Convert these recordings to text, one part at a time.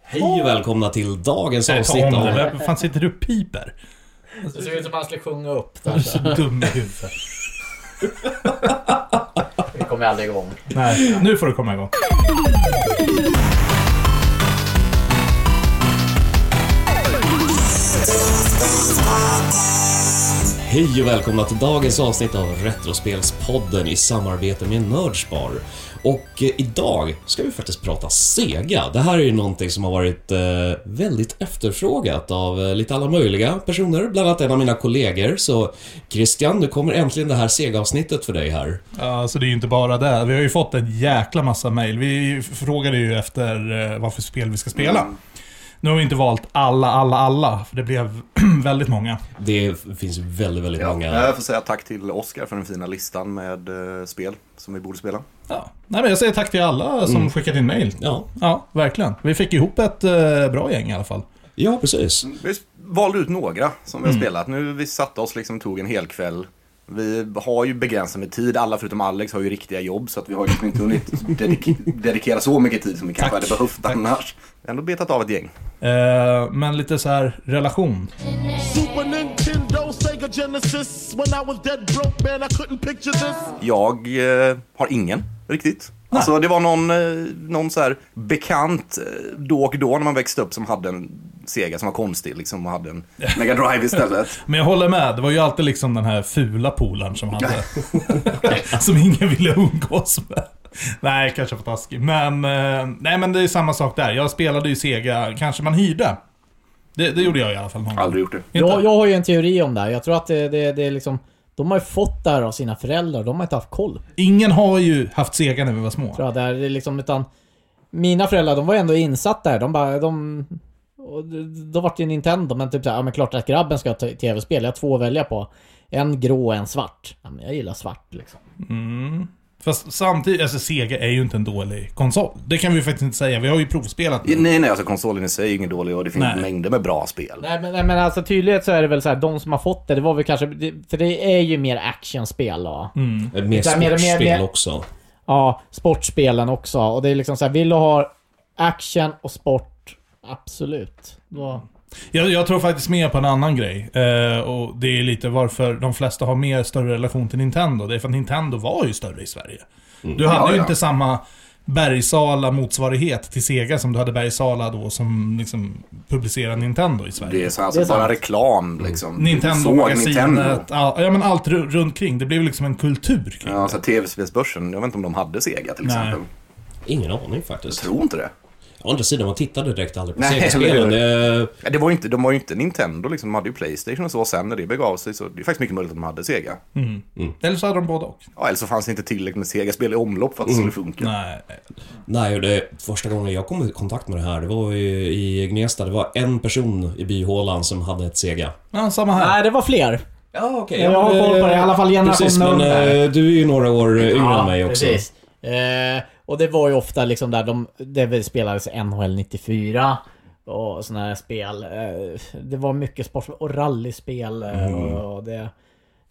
Hej och välkomna till dagens Säg, ta avsnitt om det. av... Vad fan sitter du och piper? Det ser ut som att han skulle sjunga upp Du är där. så dum i huvudet. Vi kommer aldrig igång. Nej, nu får du komma igång. Hej och välkomna till dagens avsnitt av Retrospelspodden i samarbete med Nördsbar. Och eh, idag ska vi faktiskt prata Sega. Det här är ju någonting som har varit eh, väldigt efterfrågat av eh, lite alla möjliga personer, bland annat en av mina kollegor. Så Christian, nu kommer äntligen det här Sega-avsnittet för dig här. Ja, så det är ju inte bara det. Vi har ju fått en jäkla massa mejl. Vi frågade ju efter eh, vad för spel vi ska spela. Nu har vi inte valt alla, alla, alla. För det blev väldigt många. Det finns väldigt, väldigt Ja, många... Jag får säga tack till Oscar för den fina listan med eh, spel som vi borde spela. Ja. Nej, men jag säger tack till alla som skickat in mejl. Ja, Mm. Ja, verkligen. Vi fick ihop ett eh, bra gäng i alla fall. ja precis. Mm. Vi valde ut några som vi har spelat. Nu vi satte oss liksom tog en hel kväll. Vi har ju begränsat med tid. Alla förutom Alex har ju riktiga jobb så att vi har liksom inte hunnit dedik dedikera så mycket tid som vi kanske Tack. hade behövt Tack. annars. Vi har ändå betat av ett gäng. Eh, men lite så här relation. Super Nintendo, Sega Genesis. When I was dead broke, man, I couldn't picture this. Jag eh, har ingen riktigt. Alltså det var någon, eh, någon så här bekant eh, då och då när man växte upp som hade en Sega som var konstig liksom och hade en Mega Drive istället. Men jag håller med, det var ju alltid liksom den här fula polaren som hade. som ingen ville umgås med. Nej, kanske för taskig. Men, eh, nej, men det är samma sak där. Jag spelade ju Sega, kanske man hyrde. Det, det gjorde jag i alla fall någon gång. Aldrig gjort Inte? det. Jag, jag har ju en teori om det här. Jag tror att det, det, det är liksom... De har ju fått det här av sina föräldrar. De har inte haft koll. Ingen har ju haft Sega när vi var små. Tror jag. Det här, det är liksom, utan, mina föräldrar, de var ju ändå insatta här. De bara... De, och det- då vart det ju Nintendo, men typ såhär, ja men klart att grabben ska ha t- tv-spel. Jag har två att välja på. En grå och en svart. Ja, men jag gillar svart liksom. Fast samtidigt, alltså Sega är ju inte en dålig konsol. Det kan vi faktiskt inte säga, vi har ju provspelat den. Nej, nej, alltså konsolen i sig är ingen dålig och det finns Nej. mängder med bra spel. Nej men, nej men alltså tydligt så är det väl så här, de som har fått det, det var väl kanske... det- För det är ju mer actionspel och... Mer Utan mer- mer- sportspel mer- också. Ja, sportspelen också. Och det är liksom så här, vill du ha action och sport? Absolut. Då, Jag, jag tror faktiskt mer på en annan grej. Eh, och det är lite varför de flesta har mer större relation till Nintendo. Det är för att Nintendo var ju större i Sverige. Du hade Mm. Ja, ju ja. inte samma Bergsala motsvarighet till Sega som du hade Bergsala då som liksom publicerade Nintendo i Sverige. Det är så alltså Det är sant. bara reklam liksom. Nintendo, Såg Nintendo. magasinet, ja, ja men allt ru- runt omkring. Det blev liksom en kultur kring Ja, så här tv-spelsbörsen, jag vet inte om de hade Sega till Nej. exempel. Ingen aning Jag faktiskt. tror inte det. Å andra sidan, man tittade direkt aldrig på Nej, Sega-spelen. Det- Ja, det var ju inte, de var ju inte Nintendo liksom, de hade ju Playstation och så. Sen när det begav sig så det är faktiskt mycket möjligt att de hade Sega. Mm. det. Eller så hade de både och. Ja, eller så fanns det inte tillräckligt med Sega-spel i omlopp för att det skulle Mm. funka. Nej. Nej, och det, första gången jag kom i kontakt med det här, det var i, i Gnesta. Det var en person i byhålan som hade ett Sega. Ja, samma här. nej, det var fler. Ja, okej. Jag har koll på det, i alla fall generationen Precis, men under. eh, du är ju några år eh, yngre än mig också. precis. Eh, och det var ju ofta liksom där de, det väl spelades NHL 94 och sådana här spel. Eh, det var mycket sport och rallyspel. eh, Och, och det,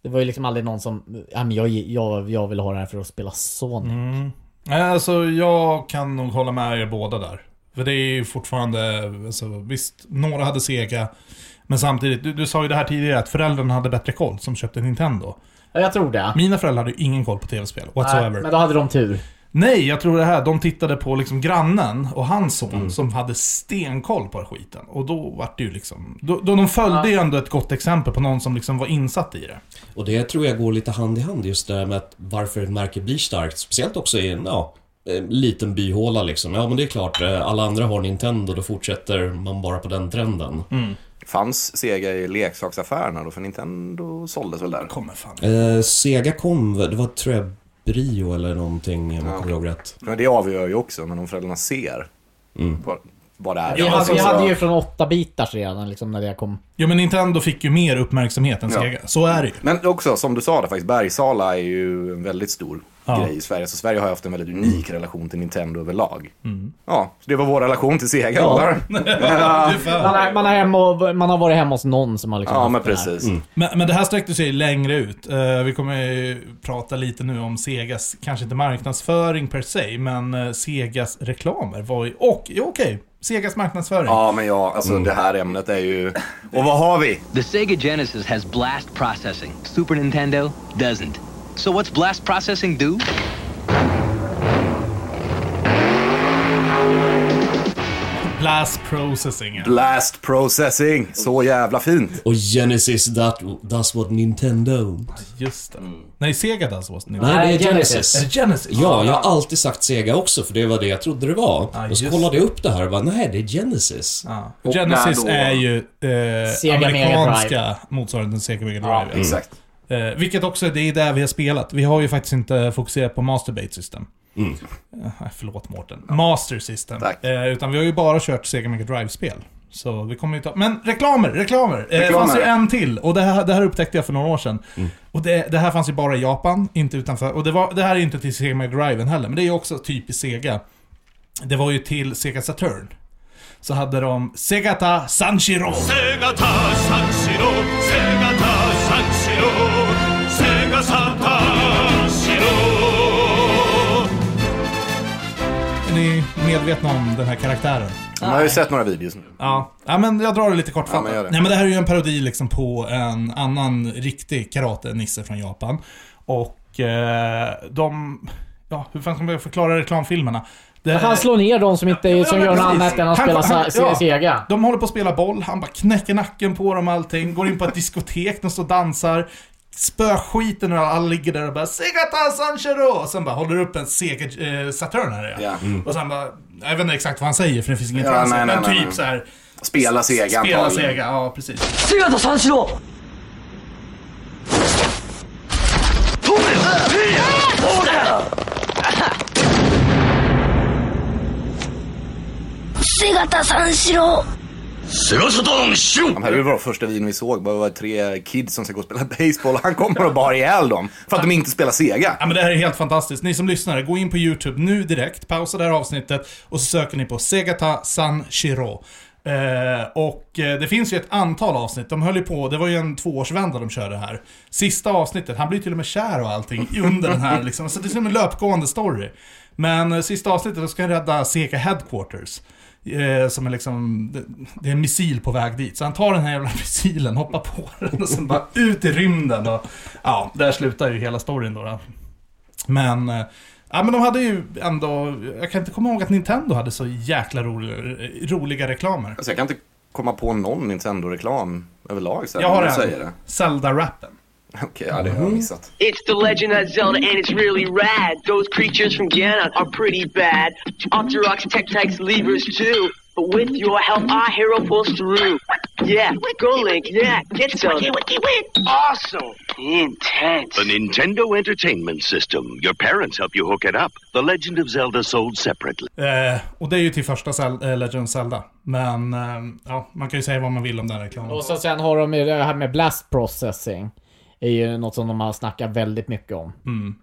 det var ju liksom aldrig någon som, ja men jag, jag, jag vill ha det här för att spela Sonic. Nej, Alltså jag kan nog hålla med er båda där. För det är ju fortfarande, alltså, visst, några hade Sega. Men samtidigt, du, du sa ju det här tidigare att föräldrarna hade bättre koll som köpte Nintendo. Ja, jag tror det. Mina föräldrar hade ju ingen koll på tv-spel Nej, whatsoever. men då hade de tur. Nej, jag tror det här, de tittade på liksom grannen och hans son som hade stenkoll på skiten. Och då vart det ju liksom, då, då de följde ju ändå ett gott exempel på någon som liksom var insatt i det. Och det tror jag går lite hand i hand just det där med att varför ett märke blir starkt. Speciellt också i en, ja, eh, liten byhåla liksom. Ja, men det är klart, eh, alla andra har Nintendo, då fortsätter man bara på den trenden. Fanns Sega i leksaksaffärerna då? För Nintendo såldes väl där? Kommer fan. Eh, Sega kom, det var tror jag Brio eller någonting om jag kommer ihåg rätt. Men det avgör ju också, men om föräldrarna ser vad, vad det är. Vi hade, Alltså, vi så- hade ju från åtta bitars redan liksom när det kom. Ja men Nintendo fick ju mer uppmärksamhet än Ja. Sega. Så är det ju. Men också, som du sa där faktiskt, Bergsala är ju en väldigt stor Ja. Mm. grej i Sverige. Så Sverige har ju haft en väldigt unik relation till Nintendo överlag. Ja, så det var vår relation till Sega Ja. då, där. ja. Man, är, man, är hemma och, man har varit hemma hos någon som har liksom ja, haft men det här. precis. Men, men det här sträckte sig längre ut. Eh, vi kommer ju prata lite nu om Segas, kanske inte marknadsföring per se, men eh, Segas reklamer var ju... Och, ja, okej, Segas marknadsföring. Ja, men ja, alltså Mm. det här ämnet är ju... Och vad har vi? The Sega Genesis has blast processing. Super Nintendo doesn't. So what's blast processing do? Blast processing. ja. Blast processing. Så jävla fint. Mm. Och Genesis, that, that's what Nintendo. don't. Just det. Nej, Sega does was Nej. Nej, Nej, det är Genesis. Genesis. Är det Genesis? Ja, jag har alltid sagt Sega också, för det var det jag trodde det var. Ja, och så just kollade jag upp det här och bara, nej, det är Genesis. Ja. Och Genesis när då? är ju eh, Sega Mega amerikanska motsvarigheten till Sega Mega Drive. Ja, ja. exakt. Eh, vilket också, det är där vi har spelat. Vi har ju faktiskt inte fokuserat på Masturbate System. Eh, förlåt Mårten. Master System. Tack. Eh, utan vi har ju bara kört Sega Mega Drive-spel. Så vi kommer ju ta... Men reklamer, reklamer! Eh, Det Reklamer. fanns ju en till, och det här, det här upptäckte jag för några år sedan. Och det, det här fanns ju bara i Japan, inte utanför. Och det, var, det här är ju inte till Sega Mega Drive heller, men det är ju också typiskt Sega. Det var ju till Sega Saturn. Så hade de Segata Sanshiro. Sega ta Sanshiro, Sega ta Sanshiro, Sega Sata Shiro. Är ni medvetna om den här karaktären? Man har ju sett några videos nu. Ja. ja, men jag drar det lite kortfattat. Ja, men gör det. Nej, men det här är ju en parodi liksom på en annan riktig karate-nisse från Japan. Och eh, de... Ja, hur fan ska man förklara reklamfilmerna? Det, Han slår ner de som inte som Ja, gör något precis. annat än att Han- spela han- sa- ja. se- Sega. De håller på att spela boll, han bara knäcker nacken på dem och allting, går in på ett diskotek, de står och dansar. Spöskiten och alla ligger där och bara Segata Sanchero! Och sen bara håller upp en Sega eh, Saturn här ja. Ja. Och sen bara, jag vet inte exakt vad han säger för det finns ingen Ja, trans nej, nej, men nej, typ nej. så här. Spela Sega Spela antagligen. Sega, ja precis. 姿三四郎 De här är ju vår första videon vi såg. Bara det var tre kids som ska gå och spela baseball. Han kommer och bara ihjäl dem. För att de inte spelar Ja Sega. men det här är helt fantastiskt. Ni som lyssnar, gå in på YouTube nu direkt, pausa det här avsnittet och så söker ni på Segata San Shiro. Eh, och eh, det finns ju ett antal avsnitt, de höll ju på, det var ju en tvåårsvända de körde här. Sista avsnittet, han blir till och med kär och allting under den här liksom, så det är som en löpgående story. Men eh, sista avsnittet, då ska han rädda Sega Headquarters. Eh, som är liksom, det, det är en missil på väg dit. Så han tar den här jävla missilen, hoppar på den och sen bara ut i rymden. Och, ja, där slutar ju hela storyn då. då. Men, eh, ja men de hade ju ändå, jag kan inte komma ihåg att Nintendo hade så jäkla roliga, roliga reklamer. Alltså jag kan inte komma på någon Nintendo-reklam överlag. Så här, Jag har när du säger en, det. Zelda-rappen. Okej, ja, det har Mm. jag missat. It's The Legend of Zelda, and it's really rad. Those creatures from Ganon are pretty bad. Octoroks, Tectites, Levers too. But with your help, our hero pulls through. Yeah, go Link, yeah, get Zelda. Awesome. Intense. The Nintendo Entertainment System. Your parents help you hook it up. The Legend of Zelda sold separately. Eh, och det är ju till första Zel- eh, Legend of Zelda. Men, eh, ja, man kan ju säga vad man vill om den reklamen. Och så sen har de ju det här med blast processing. är ju något som de har snackat väldigt mycket om.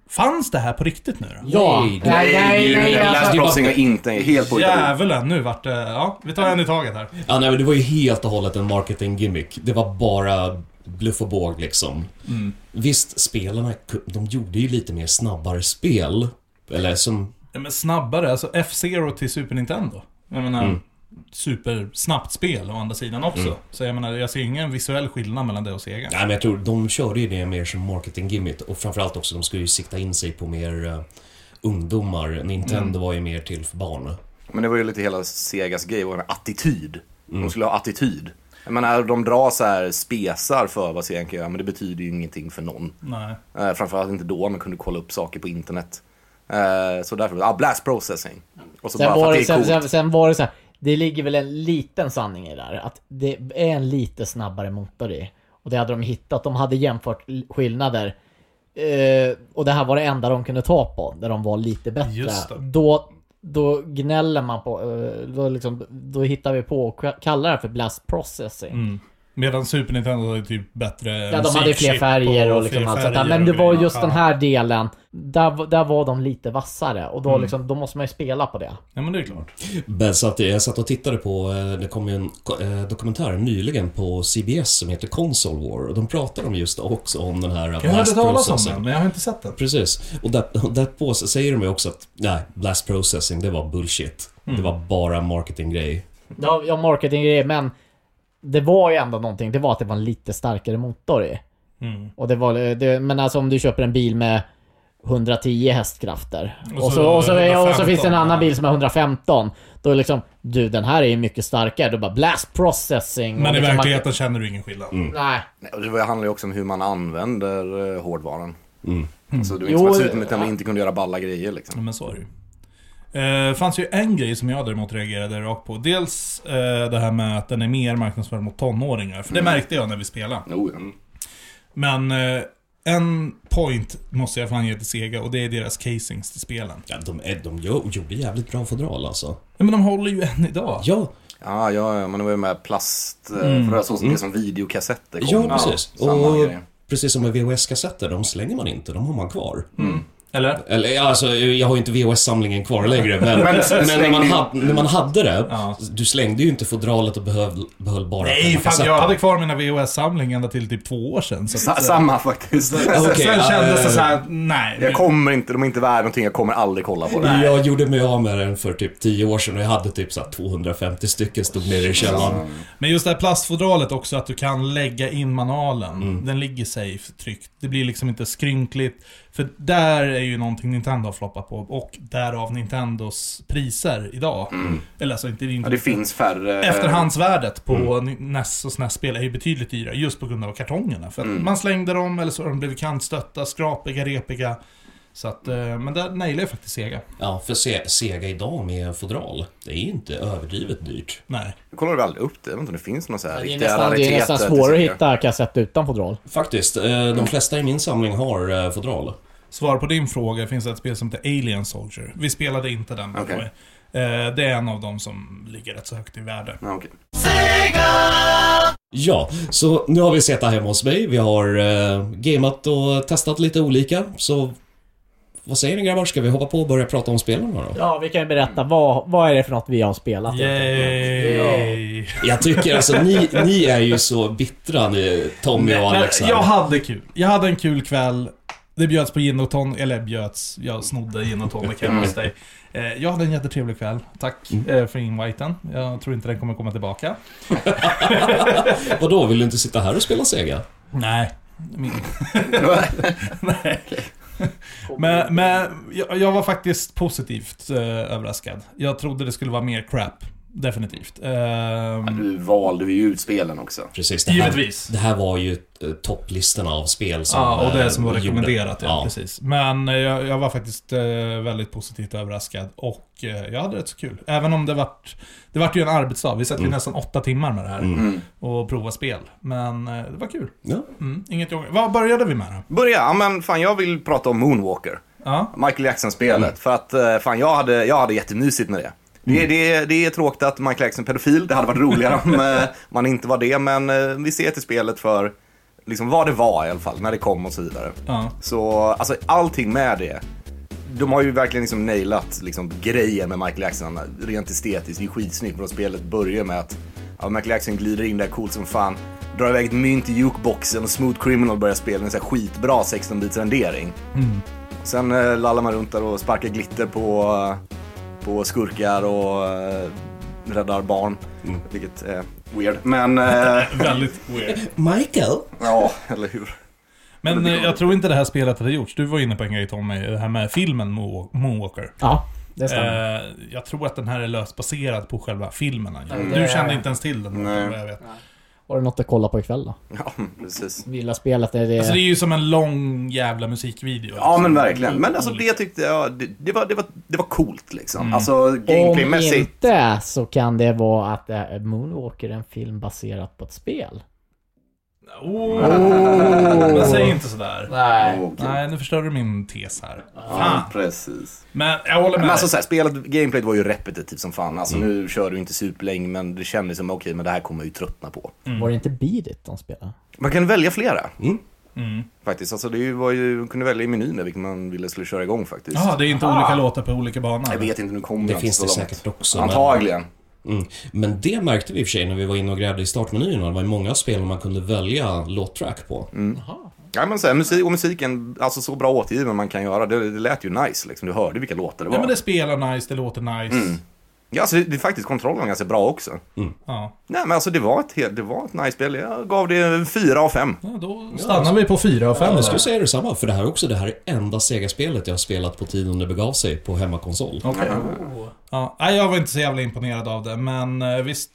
Fanns det här på riktigt nu då? Ja! Nej, nej, nej, nej, Blast alltså. Crossing är inte helt på Djävulen, nu vart det... Ja, vi tar en i taget här. Ja, nej, men det var ju helt och hållet en marketing gimmick. Det var bara bluff och båg liksom. Visst, spelarna, ku- de gjorde ju lite mer snabbare spel. Eller som... Ja, Men snabbare, alltså F-Zero till Super Nintendo. Jag menar, Mm. supersnabbt spel å andra sidan också. Så jag menar, jag ser ingen visuell skillnad mellan det och Sega. Nej, men jag tror de körde ju det mer som marketing gimmick. Och framförallt också, de skulle ju sikta in sig på mer eh, ungdomar. Nintendo Mm. var ju mer till för barn. Men det var ju lite hela Segas grej, var en attityd. Mm. De skulle ha attityd. Jag menar, de drar så här spesar för vad Sega kan göra, men det betyder ju ingenting för någon. Nej. Eh, framförallt inte då, man kunde kolla upp saker på internet. Eh, så därför, ah, blast processing. Och så Sen bara för var, att det det, är sen, coolt. sen, sen var det så här, det ligger väl en liten sanning i det där. Att det är en lite snabbare motor i. Och det hade de hittat. De hade jämfört l- skillnader. Eh, och det här var det enda de kunde ta på, där de var lite Just bättre. det. Då, då gnäller man på, eh, då, liksom, då hittar vi på och k- kallar det här för blast processing. Medan Super Nintendo hade typ bättre Ja, de hade ju fler färger och liksom allt sånt där. Men det var just den här delen, där, v- där var de lite vassare. Och då, liksom, då måste man ju spela på det. Ja, men det är klart. Men så att eh, jag satt och tittade på, eh, det kom ju en ko- eh, dokumentär nyligen på CBS som heter Console War och de pratade om just också om den här eh, Jag hörde blast talas om processing. den, men jag har inte sett den. Precis. Och där, och därpå så säger de ju också att nej, blast processing, det var bullshit. Mm. Det var bara marketinggrej. Ja, jag marketing grejer men det var ju ändå någonting. Det var att det var en lite starkare motor i. Och det var, det, men alltså om du köper en bil med 110 hästkrafter och så, och så, och så, 115. finns det en annan bil som är 115. Då är liksom, du den här är ju mycket starkare. Då bara blast processing. och Men i liksom, verkligheten känner du ingen skillnad. Nej. Nej, och Det handlar ju också om hur man använder eh, hårdvaran. Alltså, det var Mm. Jo, inte som att eh, utan att man inte kunde göra balla grejer liksom. Ja, men så är det ju. Eh, fanns ju en grej som jag däremot reagerade rakt på. Dels eh, det här med att den är mer marknadsförd mot tonåringar. För det märkte jag när vi spelade. Jo, ja. Men eh, en point måste jag fan ge till Sega och det är deras casings till spelen. Ja, de, är- de gör- gjorde jävligt bra fodral alltså. Ja, men de håller ju än idag. Ja, Ja, ja, ja, men det var ju med plast, eh, Mm. för det var så som, det som videokassetter kom. ja precis. samma Och grej. precis som med VHS-kassetter, de slänger man inte, de har man kvar. Mm. Eller? Eller ja, alltså, jag har ju inte VHS-samlingen kvar längre, men, men, när, man hade, när man hade det, du slängde ju inte fodralet och behöll, behöll bara Nej, själva fan kassetten. jag hade kvar mina VHS-samling ända till typ två år sedan. Så att, Sa- Samma faktiskt. Alltså, okej, sen ja, kändes det eh, såhär, nej. Jag kommer inte, de är inte värda någonting, jag kommer aldrig kolla på det. Jag gjorde mig av med den för typ 10 år sedan och jag hade typ så här 250 stycken stod nere i källaren. Men just det här plastfodralet också, att du kan lägga in manualen. Mm. Den ligger safe, tryckt. Det blir liksom inte skrynkligt. För där är ju någonting Nintendo har floppat på. Och därav Nintendos priser idag. Eller alltså inte... Mm. Ja, det Mm. finns färre... Efterhandsvärdet på NES och SNES-spel är ju betydligt dyrare just på grund av kartongerna. För att Mm. man slängde dem, eller så har de blivit kantstötta, skrapiga, repiga. Så att, eh, men där nailade jag faktiskt Sega. Ja, för Se- Sega idag med fodral, det är inte överdrivet dyrt. Nej. Jag kollar väl aldrig upp det, jag vet inte om det finns några så här Det är riktiga nästan, det är rariteter. nästan till svårare att Sega. hitta kassett utan fodral. Faktiskt, eh, de flesta i min samling har eh, fodral. Svar på din fråga finns det ett spel som heter Alien Soldier. Vi spelade inte den, by the Okej. way. Eh, Det är en av dem som ligger rätt så högt i värde. Ja, okej. Ja, så nu har vi sett hemma hos mig. Vi har eh, gameat och testat lite olika. Så vad säger ni grabbar? Ska vi hoppa på och börja prata om spelen då? Ja, vi kan ju berätta Mm. vad, vad är det för något vi har spelat. Yay! Jag tycker alltså, ni, ni är ju så bittra ni, Tommy och Men Alex här. jag hade kul. Jag hade en kul kväll. Det bjöds på gin och tonic, eller bjöds, jag snodde gin och tonic hemma hos dig. Eh, Jag hade en jättetrevlig kväll. Tack eh, för inviten. Jag tror inte den kommer komma tillbaka. Vadå, vill du inte sitta här och spela Sega? Nej. Min... Nej. Men, men jag, jag var faktiskt positivt eh, överraskad. Jag trodde det skulle vara mer crap. Definitivt. Ehm, Nu valde vi ju ut spelen också. Precis, det här, Givetvis. Det här var ju eh, topplistorna av spel som... Ja, och det eh, som var gjorde- rekommenderat. Ja, precis. Men eh, jag, jag var faktiskt eh, väldigt positivt överraskad och eh, jag hade rätt så kul. Även om det vart... Det vart ju en arbetsdag. Vi satt ju nästan åtta timmar med det här och provade spel. Men eh, det var kul. Ja. Mm, inget jobb. Vad började vi med då? Börja, ja, men fan jag vill prata om Moonwalker. Ja. Mm. Michael Jackson-spelet. För att eh, fan, jag hade, jag hade jättemysigt med det. Det, det, det är tråkigt att Michael Jackson är pedofil. Det hade varit roligare om eh, man inte var det. Men eh, vi ser till spelet för liksom, vad det var i alla fall, när det kom och så vidare. ja. Så alltså, allting med det. De har ju verkligen liksom nailat liksom, grejen med Michael Jackson. Rent estetiskt, det är skitsnyggt. Men spelet börjar med att ja, Michael Jackson glider in där coolt som fan. Drar iväg ett mynt i jukeboxen och Smooth Criminal börjar spela en så här skitbra 16-bits rendering. Sen eh, lallar man runt där och sparkar glitter på, eh, på skurkar och eh, räddar barn. Vilket är weird. Men eh, Väldigt weird. Michael? ja, eller hur. Men eh, jag tror inte det här spelet hade gjorts. Du var inne på en grej Tommy, det här med filmen Moonwalk- Moonwalker. Ja, det stämmer. Eh, jag tror att den här är löst baserad på själva filmen. han gjorde. Du kände inte ens till den? Nej. Jag vet. Har du något att kolla på ikväll då? Ja, precis. Gillar spelet? Är det... Alltså det är ju som en lång jävla musikvideo. Ja men verkligen. Men alltså det tyckte jag, det, det, var, det, var, det var coolt liksom. Alltså Om gameplaymässigt. inte så kan det vara att eh, Moonwalker är en film baserad på ett spel. Oh. Oh. Men säg inte sådär. Nej. Okej. Nej, nu förstör du min tes här. Fan. Ja, precis. Men jag håller med. Men alltså så här, spelet, gameplayet var ju repetitivt som fan. Alltså nu kör du inte superlänge men det kändes som okej, men det här kommer jag ju tröttna på. Mm. Var det inte Beat It de spelade? Man kan välja flera. Mm. Faktiskt, alltså det var ju, man kunde välja i menyn där vilken man ville skulle köra igång faktiskt. Jaha, det är inte olika låtar på olika banor? Jag vet inte, nu kommer Det jag finns inte det så långt. säkert också, men- Antagligen. Mm. Men det märkte vi i och för sig när vi var inne och grävde i startmenyerna. Det var ju många spel man kunde välja låttrack på. Ja, men så här, musik, och musiken, alltså så bra återgiven man kan göra. Det, det lät ju nice liksom. Du hörde vilka låtar det var. Nej men det spelar nice, det låter nice. Ja, alltså, det, det, faktiskt kontrollen var ganska bra också. Ja. Nej, men alltså det var ett, helt- det var ett nice spel. Jag gav det fyra av fem. ja, då stannar vi på 4 av 5. Jag skulle säga detsamma, för det här är också det här enda Sega-spelet jag har spelat på tiden det begav sig på hemmakonsol. Ja, nej, jag var inte så jävla imponerad av det, men eh, visst.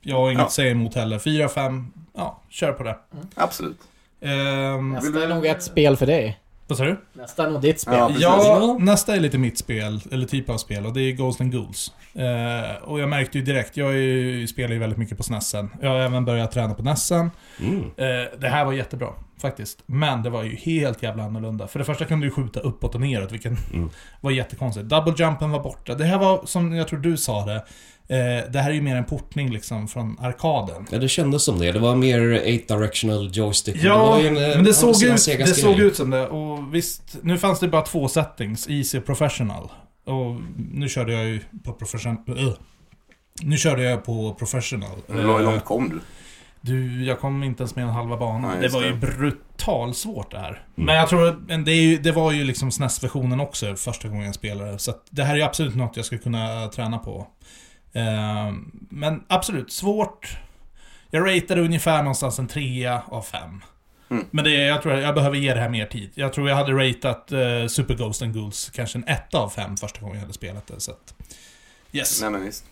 Jag har inget Ja. att säga emot heller. 4 av 5. Ja, kör på det. Absolut. Ehm, Nästa är nog ett spel för dig. vad sa du? Nästa är nog ditt spel. Ja, precis. Ja, nästa är lite mitt spel, eller typ av spel, och det är Ghost and Ghouls. Eh, och jag märkte ju direkt, jag är ju, spelar ju väldigt mycket på SNESen. Jag har även börjat träna på NESen. Eh, det här var jättebra, faktiskt. Men det var ju helt jävla annorlunda. För det första kunde du skjuta uppåt och neråt, vilket var jättekonstigt. Double jumpen var borta. Det här var, som jag tror du sa det, eh, det här är ju mer en portning liksom från arkaden. Ja, det kändes som det. Det var mer 8 directional joystick. Ja, var ju en, eh, men det av såg, sina ut, Segas det såg grejer. ut som det. Och visst, nu fanns det bara två settings. Easy och professional. Och nu körde jag ju på professional... Äh. Nu körde jag på professional. Hur lång- hur Eh, långt kom du? Du, jag kom inte ens med en halva bana. Nej, det just var det. Mm. ju brutalt svårt det här. Men jag tror att men det, är ju, det var ju liksom SNES-versionen också första gången jag spelade. Så att det här är ju absolut något jag skulle kunna träna på. Eh, men absolut, svårt. Jag ratade ungefär någonstans en trea av fem. Mm. Men det, jag tror jag behöver ge det här mer tid. Jag tror jag hade ratat eh, Super Ghost and Ghouls kanske en etta av fem första gången jag hade spelat det. Så att, yes. Nej, men visst.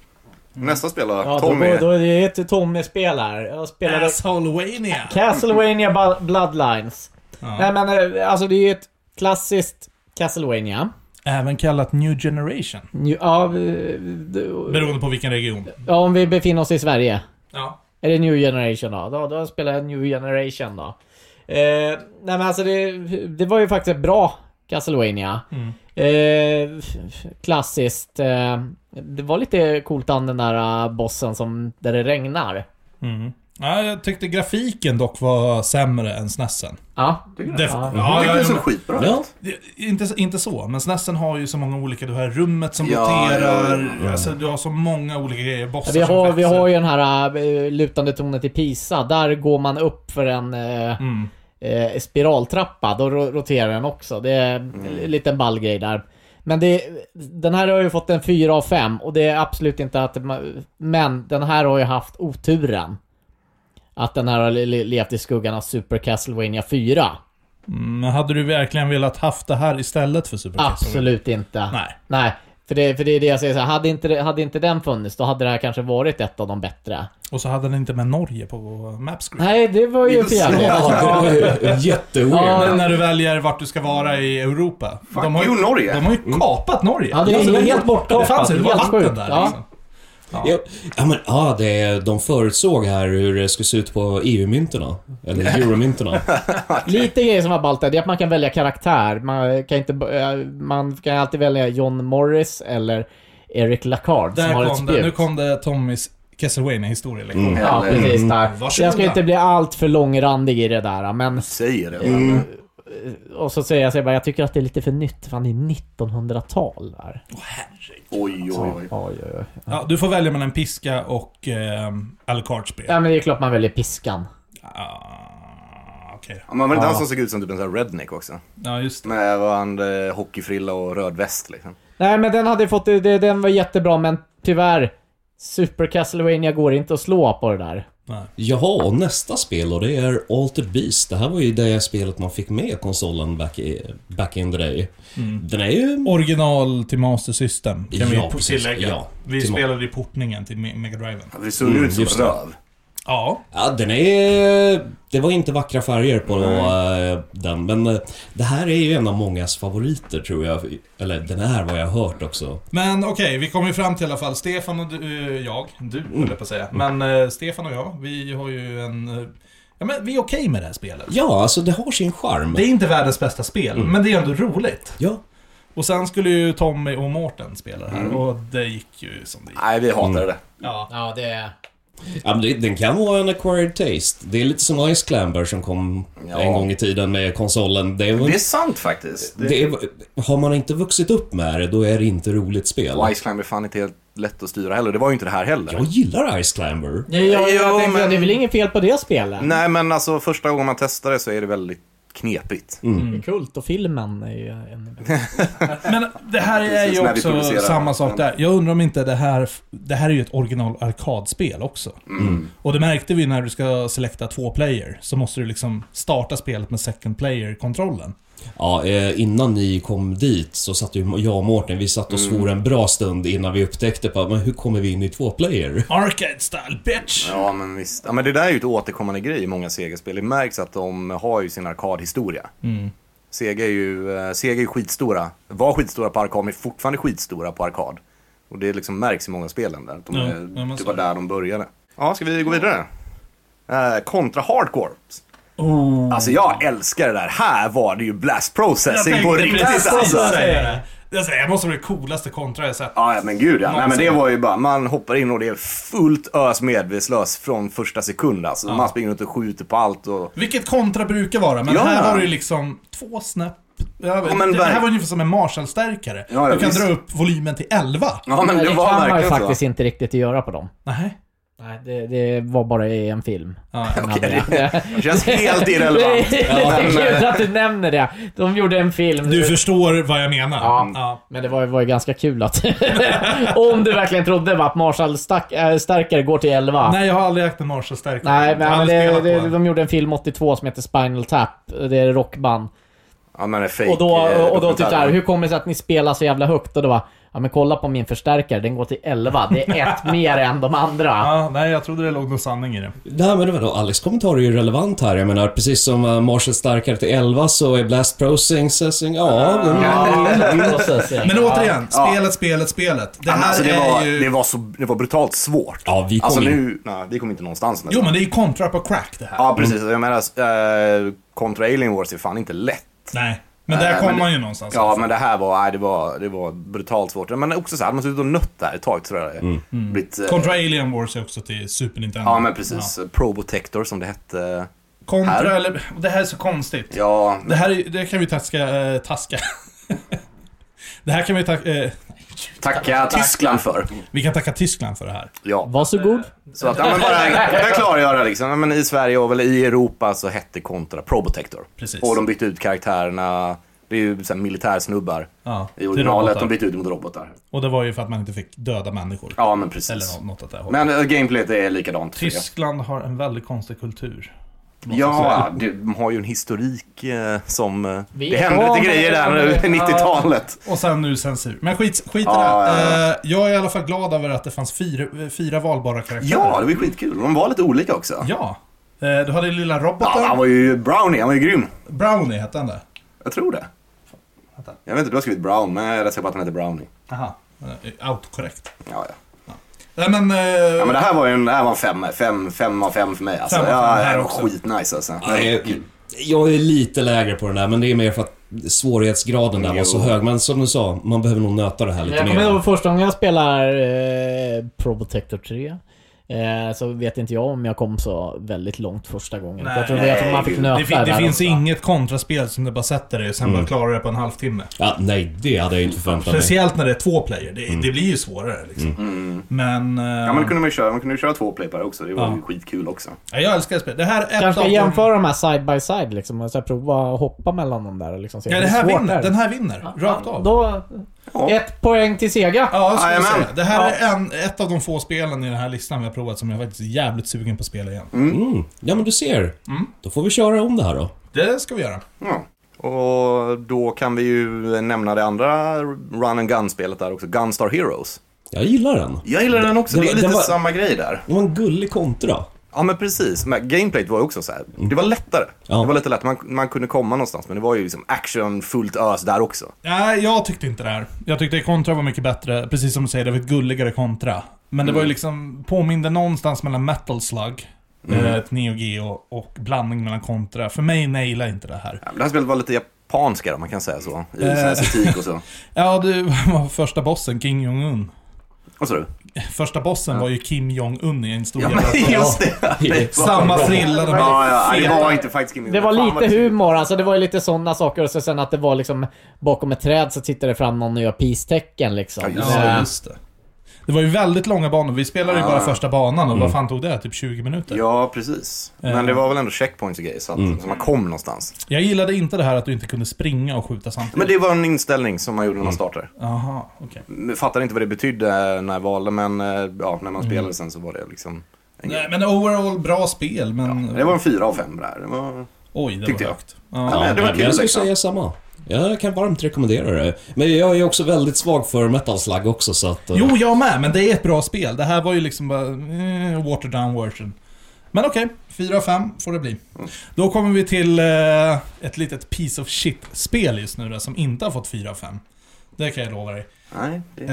Nästa spel då? Ja, då, Tommy. går- då är det ett Tommy-spel här. Jag spelade Assholevania! Castlevania Bu- Bloodlines. Nej men eh, alltså det är ju ett klassiskt Castlevania. Även kallat New Generation. Ju- Ja, eh, d- Beroende på vilken region. ja, om vi befinner oss i Sverige. Ja. Är det New Generation då? Då, då spelar jag New Generation då. Eh, nej men alltså det, det var ju faktiskt ett bra Castlevania. Eh, klassiskt. Eh, det var lite coolt an den där eh, bossen som, där det regnar. Ja, jag tyckte grafiken dock var sämre än snessen. Ja, Det, ja, Jag ja, tyckte ja, det såg men- skitbra Ja. ut. det- inte, inte så, men snessen har ju så många olika. Du har rummet som Ja, roterar. ja, Alltså, du har så många olika grejer. Bossar Ja, Vi har, som vi växer. har ju den här eh, lutande tornet i Pisa. Där går man upp för en eh, Mm. eh, spiraltrappa. Då ro- roterar den också. Det är en liten ball grej där. Men det, den här har ju fått en 4 av 5 och det är absolut inte att... ma- Men den här har ju haft oturen. Att den här har le- le- levt i skuggan av Super Castlevania 4. Men hade du verkligen velat haft det här istället för Super Castle? Absolut inte. Nej. Nej. För det, för det är det jag säger så här, hade inte, det- hade inte den funnits då hade det här kanske varit ett av de bättre. Och så hade den inte med Norge på Mapscreen. Nej, det var ju för jävligt. Ja, det var jätteweird. Men när du väljer vart du ska vara i Europa. Fuck de har ju, you, Norge. Mm. De har ju kapat Norge. Ja, det är var helt borta. Det fanns ju, det var Helt vatten sjukt, där ja. liksom. Ja, ja men ja, det, de förutsåg här hur det skulle se ut på EU-mynterna. Eller euromynterna. Lite grejer som var ballt där, det är att man kan välja karaktär. Man kan, inte, b- eh, man kan alltid välja John Morris eller Eric Lacard som har Där ett kom det. spjut. Nu kom det Tommys Castlevania-historia. Liksom. Mm. Ja, Eller- precis där. Så Varsågoda. jag ska inte bli allt för långrandig i det där, men... Säger det. Och så säger jag så här bara, jag tycker att det är lite för nytt, fan det är 1900-tal där. Oj, oj, oj. Oj, oj, oj. Ja, du får välja mellan piska och eh, Alucard-spel. Ja, men det är klart man väljer piskan. Ah, Okej. Ja, men var det inte han som såg ut som typ en sån här redneck också? Ja, just det. Med vad han, eh, hockeyfrilla och röd väst liksom. Nej, men den hade ju fått, det- det- den var jättebra, men tyvärr. Super Castlevania går inte att slå på det där. Jaha, och nästa spel då, det är Altered Beast. Det här var ju det spelet man fick med konsolen back, i, back in the day. Mm. Den är ju... Original till Master System, kan Ja, vi precis. tillägga. Ja. vi Till- spelade ju portningen till Me- Mega Driven. Det såg ju ut som just det. röv. Ja. Ja, den är... Det var inte vackra färger på eh, den, men eh, det här är ju en av mångas favoriter tror jag. Eller den är vad jag har hört också. Men okej, vi kom ju fram till i alla fall Stefan och du, eh, jag. Du, Mm. höll jag på att säga. Men eh, Stefan och jag, vi har ju en... eh, ja, men vi är okej med det här spelet. Ja, Mm. alltså det har sin charm. Det är inte världens bästa spel, men det är ändå roligt. Ja. Och sen skulle ju Tommy och Mårten spela det här, och det gick ju som det gick. Nej, vi hatade det. Ja. Ja, det är... Ja, men det, den kan vara en acquired taste. Det är lite som Ice Clamber som kom Ja. en gång i tiden med konsolen. Det, var, Det är sant faktiskt. Det... det är, har man inte vuxit upp med det, då är det inte roligt spel. Och Ice Climb är fan inte helt lätt att styra heller. Det var ju inte det här heller. Jag gillar Ice Clamber. Ja, jag, Jo, jag tänkte men- Mm. att det är väl inget fel på det spelet? Nej, men alltså första gången man testar det så är det väldigt knepigt. Mm. Kultofilmen är ju en... Men det här är Precis, ju när vi också producerar. samma sak där. Jag undrar om inte det här... Det här är ju ett original arkadspel också. Mm. Och det märkte vi när du ska selekta två player. Så måste du liksom starta spelet med second player-kontrollen. Ja, eh, innan ni kom dit så satt ju jag och Mårten, vi satt och svor en bra stund innan vi upptäckte på, men hur kommer vi in i två player? Arcade style, bitch! Ja, men visst. Ja, men det där är ju ett återkommande grej i många Sega-spel. Det märks att de har ju sin arkadhistoria. Mm. Sega är ju, eh, Sega är ju skitstora. Var skitstora på arkad, men är fortfarande skitstora på arkad. Och det liksom märks i många spelen där. att De, Ja, är- ja, men det så var är det. där de började. Ja, ska vi gå vidare? Eh, kontra Hardcore. Oh. Alltså jag älskar det där. Här var det ju blast processing på riktigt precis alltså. säga det. Jag säger, det måste vara det coolaste kontra jag sett. Ja, ja, men gud ja. Nej, men det var ju bara, man hoppar in och det är fullt ös medvetslös från första sekund alltså. Man springer runt och skjuter på allt och... Vilket kontra brukar vara, men Ja. här var det ju liksom två snäpp. Jag vet, Ja, men det här verk- var ungefär som en Marshall-stärkare. Ja, ja, du kan visst. dra upp volymen till 11. Ja, men Nej, det, det var kan man ju verkligen faktiskt så. inte riktigt göra på dem. Nej. Nej, det, det var bara i en film. Ja, Den hade det. Det känns helt irrelevant. det är kul att du nämner det. De gjorde en film. Du förstår vad jag menar. Ja. Men det var ju, var ju ganska kul att... om du verkligen trodde va, att Marshall stack, äh, stärkare går till 11. Nej, jag har aldrig ägt en Marshall-stärkare. Nej, Jag har men aldrig det, spelat på det, den. de gjorde en film 82 som heter Spinal Tap. Det är rockband. Ja, men det är fake, Och då, eh, och då typ dokumentär. såhär, hur kommer det sig att ni spelar så jävla högt? Och då bara, ja men kolla på min förstärkare, den går till 11. Det är ett mer än de andra. Ja, nej, jag trodde det låg någon sanning i det. Nej men vadå, Alex kommentar är ju relevant här. Jag menar precis som eh, Marshall starkare till 11 så är Blast Processing, ja... Mm. Men återigen, Ja. spelet, spelet, spelet. Det Ja, men här alltså, det, är var, ju... det, var så, det var brutalt svårt. Ja, vi kom alltså in. nu, nej, vi kom inte någonstans nästan. Jo, men det är ju kontra på crack det här. Ja, precis. Alltså, Jag menar, äh, kontra Alien Wars är fan inte lätt. Nej, men där Nej, kommer men- man ju någonstans. i alla Ja, fall. men det här var, nej, det var, det var brutalt svårt. Men också så här, hade man suttit och nött där ett tag tror jag det blivit... eh, Kontra Alien Wars är också till Super Nintendo. Mm. Ja, men precis. Probotector som det hette. Kontra, Här. eller... Det här är så konstigt. Ja, Det här är- det kan vi taska... Eh, taska. det här kan vi tacka... Eh, tacka Tyskland för. vi kan tacka Tyskland för det här. Ja, Varsågod. så att, ja, men bara, jag klargöra liksom. Ja, men I Sverige och väl i Europa så hette kontra Probotector. Precis. Och de bytte ut karaktärerna. Det är ju så här militärsnubbar. Ja, I till originalet, robotar. de bytte ut mot robotar. Och det var ju för att man inte fick döda människor. Ja, men Eller precis. nå- något åt det här hållet. Men eh, gameplayet är likadant. tycker jag. Tyskland har en väldigt konstig kultur. Ja, det- de har ju en historik eh, som... eh, Vi- Det händer Ja, lite grejer där men- nu, ja. 90-talet. Och sen nu censur. Men skit, skit i det. Ja, ja, Eh, Jag är i alla fall glad över att det fanns fyra, fyra valbara karaktärer. Ja, det var ju skitkul. De var lite olika också. Ja. Eh, Du hade lilla roboten. Ja, han var ju Brownie, han var ju grym. Brownie hette han där. Jag tror det. Vänta. Jag vet inte, du har skrivit Brown, men jag är rätt säker på att han heter Brownie. Aha. Eh, Autokorrekt. Ja, ja. Nej men... eh, ja men det här var ju en, det här var en fem, fem, fem av fem för mig. Alltså. Fem av fem ja, här det var också. skitnice alltså. Ja, jag- Jag är lite lägre på den där, men det är mer för att svårighetsgraden där var så Jo. hög. Men som du sa, man behöver nog nöta det här lite Jag kommer mer. ihåg första gången jag spelar eh, Probotector 3. Eh, så vet inte jag om jag kom så väldigt långt första gången. Nej. jag tror jag tror man fick nöta Det, fin- det där finns ofta. inget kontraspel som du bara sätter dig och sen Mm. bara klarar det på en halvtimme. Ja, nej, det hade jag inte förväntat mig. Speciellt när det är två player. Det, det blir ju svårare liksom. Men... eh, Ja men det kunde man ju köra, man kunde ju köra två playpare också. Det var Ja. ju skitkul också. ja, jag älskar det spelet. Det här är ett Kanske av ska de- jämföra de här side by side liksom. Och så här, prova att hoppa mellan dem där och liksom se Ja, hur det här svårt vinner. är. Den här vinner. Rakt av. Då... Ett poäng till Sega. Ja, skulle jag Jajamän. säga. Det här är en, ett av de få spelen i den här listan vi har provat som jag faktiskt är jävligt sugen på att spela igen. Mm. Ja, men du ser. Då får vi köra om det här då. Det ska vi göra. Ja. Och då kan vi ju nämna det andra Run and Gun-spelet där också, Gunstar Heroes. Jag gillar den. Jag gillar den också, det är Den- lite den var- samma grej där. Det var en gullig kontra. Ja men precis, men gameplayet var ju också så här. det var lättare. Ja. Det var lite lättare, man, man kunde komma någonstans men det var ju liksom action fullt ös där också. Nej, jag tyckte inte det här. Jag tyckte kontra var mycket bättre. Precis som du säger, det var ett gulligare kontra. Men det var Mm. ju liksom, påminde någonstans mellan metal slug, Mm. eh, ett neo geo och blandning mellan kontra. För mig nailade inte det här. Ja, men det här spelet var lite japanska om man kan säga så, i sån här Eh. estetik och så. Ja, du var första bossen, Kim Jong-Un. Vad sa du? Första bossen var ju Kim Jong-Un i en stor Ja jävla... men just det! det var... Samma frilla, de här Ja, ja, det var inte faktiskt Kim Det var lite humor, alltså det var ju lite sådana saker och så sen att det var liksom bakom ett träd så tittade det fram någon och gör peace-tecken liksom. Ja, just Ja, Eh, just det. Det var ju väldigt långa banor. Vi spelade ju bara första banan och vad fan tog det? Typ 20 minuter? Mm. Ja, precis. Eh. Men det var väl ändå checkpoints och grejer, så att Mm. så man kom någonstans. Jag gillade inte det här att du inte kunde springa och skjuta samtidigt. Men det var en inställning som man gjorde när Mm. man startade. Aha, okej. Fattade inte vad det betydde när jag valde, men eh, ja, när man Mm. spelade sen så var det liksom en Nej, grej. men overall bra spel, men... Det var en fyra av fem där. Det var... Oj, det var tyckte jag. högt. Ja. Ja, men det var jag kul skulle liksom. säga samma. Jag kan varmt rekommendera det. Men jag är också väldigt svag för metal slug också, så att... eh, Jo, jag med, men det är ett bra spel. Det här var ju liksom bara... Eh, watered down version. Men okej, 4 av 5 får det bli. Då kommer vi till eh, ett litet piece of shit-spel just nu då, som inte har fått 4 av 5. Det kan jag lova dig. Nej, det...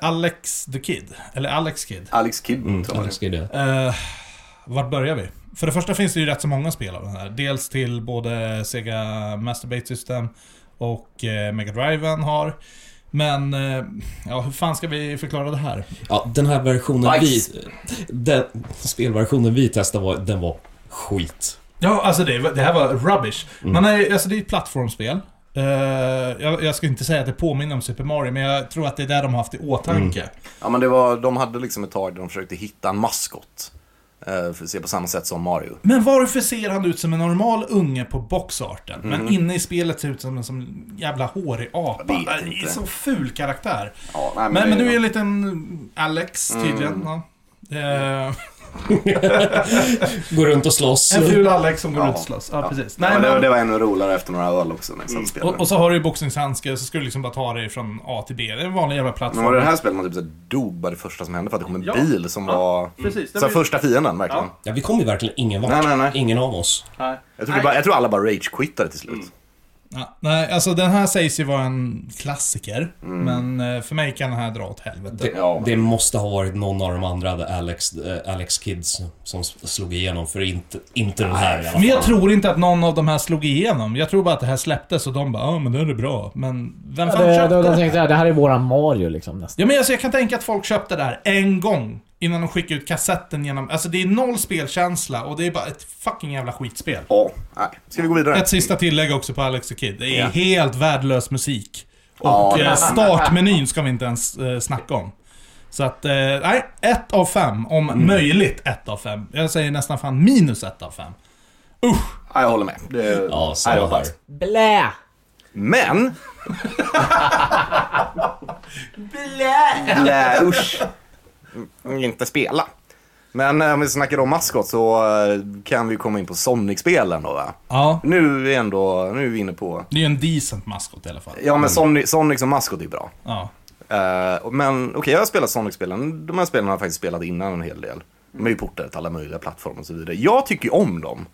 Eh, Alex the Kid, eller Alex Kid. Alex Kidd tror jag jag det älskar det. Eh, vart börjar vi? För det första finns det ju rätt så många spel av den här. Dels till både Sega Master Base System och eh, Mega Driven har. Men, eh, ja hur fan ska vi förklara det här? Ja, den här versionen vi... Bajs. Den spelversionen vi testade var, den var skit. Ja, alltså det, det här var rubbish. Mm. Man är, alltså det är ett plattformsspel. Eh, jag, jag ska inte säga att det påminner om Super Mario, men jag tror att det är det de har haft i åtanke. Ja, men det var, de hade liksom ett tag där de försökte hitta en maskot. Eh, för att se på samma sätt som Mario. Men varför ser han ut som en normal unge på boxarten? Men inne i spelet ser ut som en som jävla hårig apa. Mm. Jag vet Det är inte. så ful karaktär. Ja, nej, Men, men det- Mm. du är en liten Alex tydligen. Ja. Eh, Gå runt och slåss. en ful Alex som går Ja. ut och slåss. Ja, precis. ja, Nej, det, var- men, Mm. det var ännu roligare efter några öl också. När jag satt och spelade. och, och så har du ju boxningshandskar så ska du liksom bara ta dig från A till B. Det är en vanlig jävla plattform. Men var det det här spelet man typ så här dog bara det första som hände för att det kom en Ja. bil som var... precis. Det Så här var ju- första fienden verkligen. Ja. Ja, vi kom ju verkligen ingen vart. Nej, nej, nej. Ingen av oss. Jag, tror det bara, jag tror alla bara rage-quittade till slut. Mm. Ja, nej, alltså den här sägs ju vara en klassiker. Men eh, för mig kan den här dra åt helvete. Det, Ja. det måste ha varit någon av de andra där Alex, eh, Alex Kids som slog igenom, för inte, inte den här i alla fall. Men jag tror inte att någon av de här slog igenom. Jag tror bara att det här släpptes och de bara ja men det är det bra. Men vem fan Det, köpte då, det? då tänkte jag, det här är våran Mario liksom nästan. Ja men alltså jag kan tänka att folk köpte det här en gång. Innan de skickade ut kassetten genom... Alltså det är noll spelkänsla och det är bara ett fucking jävla skitspel. Ja, nej. Ska vi gå vidare? Ett sista tillägg också på Alex the Kid. Det är Ja. helt värdelös musik. Ja, Och det- eh, startmenyn ska vi inte ens eh, snacka om. Så att, eh, nej. Ett av fem. Om möjligt ett av fem. Jag säger nästan fan minus ett av fem. Ja, jag håller med. Det, Ja, så nej, det var här. pass. Blä! Men... Blä! Usch. Mm, Inte spela. Men eh, om vi snackar om maskot så eh, kan vi komma in på Sonic-spelen då va? Ja. Nu är, ändå, nu är vi inne på... Det är ju en decent maskot i alla fall. Ja men Sonic, Sonic som maskot är ju bra. Ja. Eh, men okej, jag har spelat Sonic-spelen. De här spelen har jag faktiskt spelat innan en hel del. De är ju portade till alla möjliga plattformar och så vidare. Jag tycker ju om dem.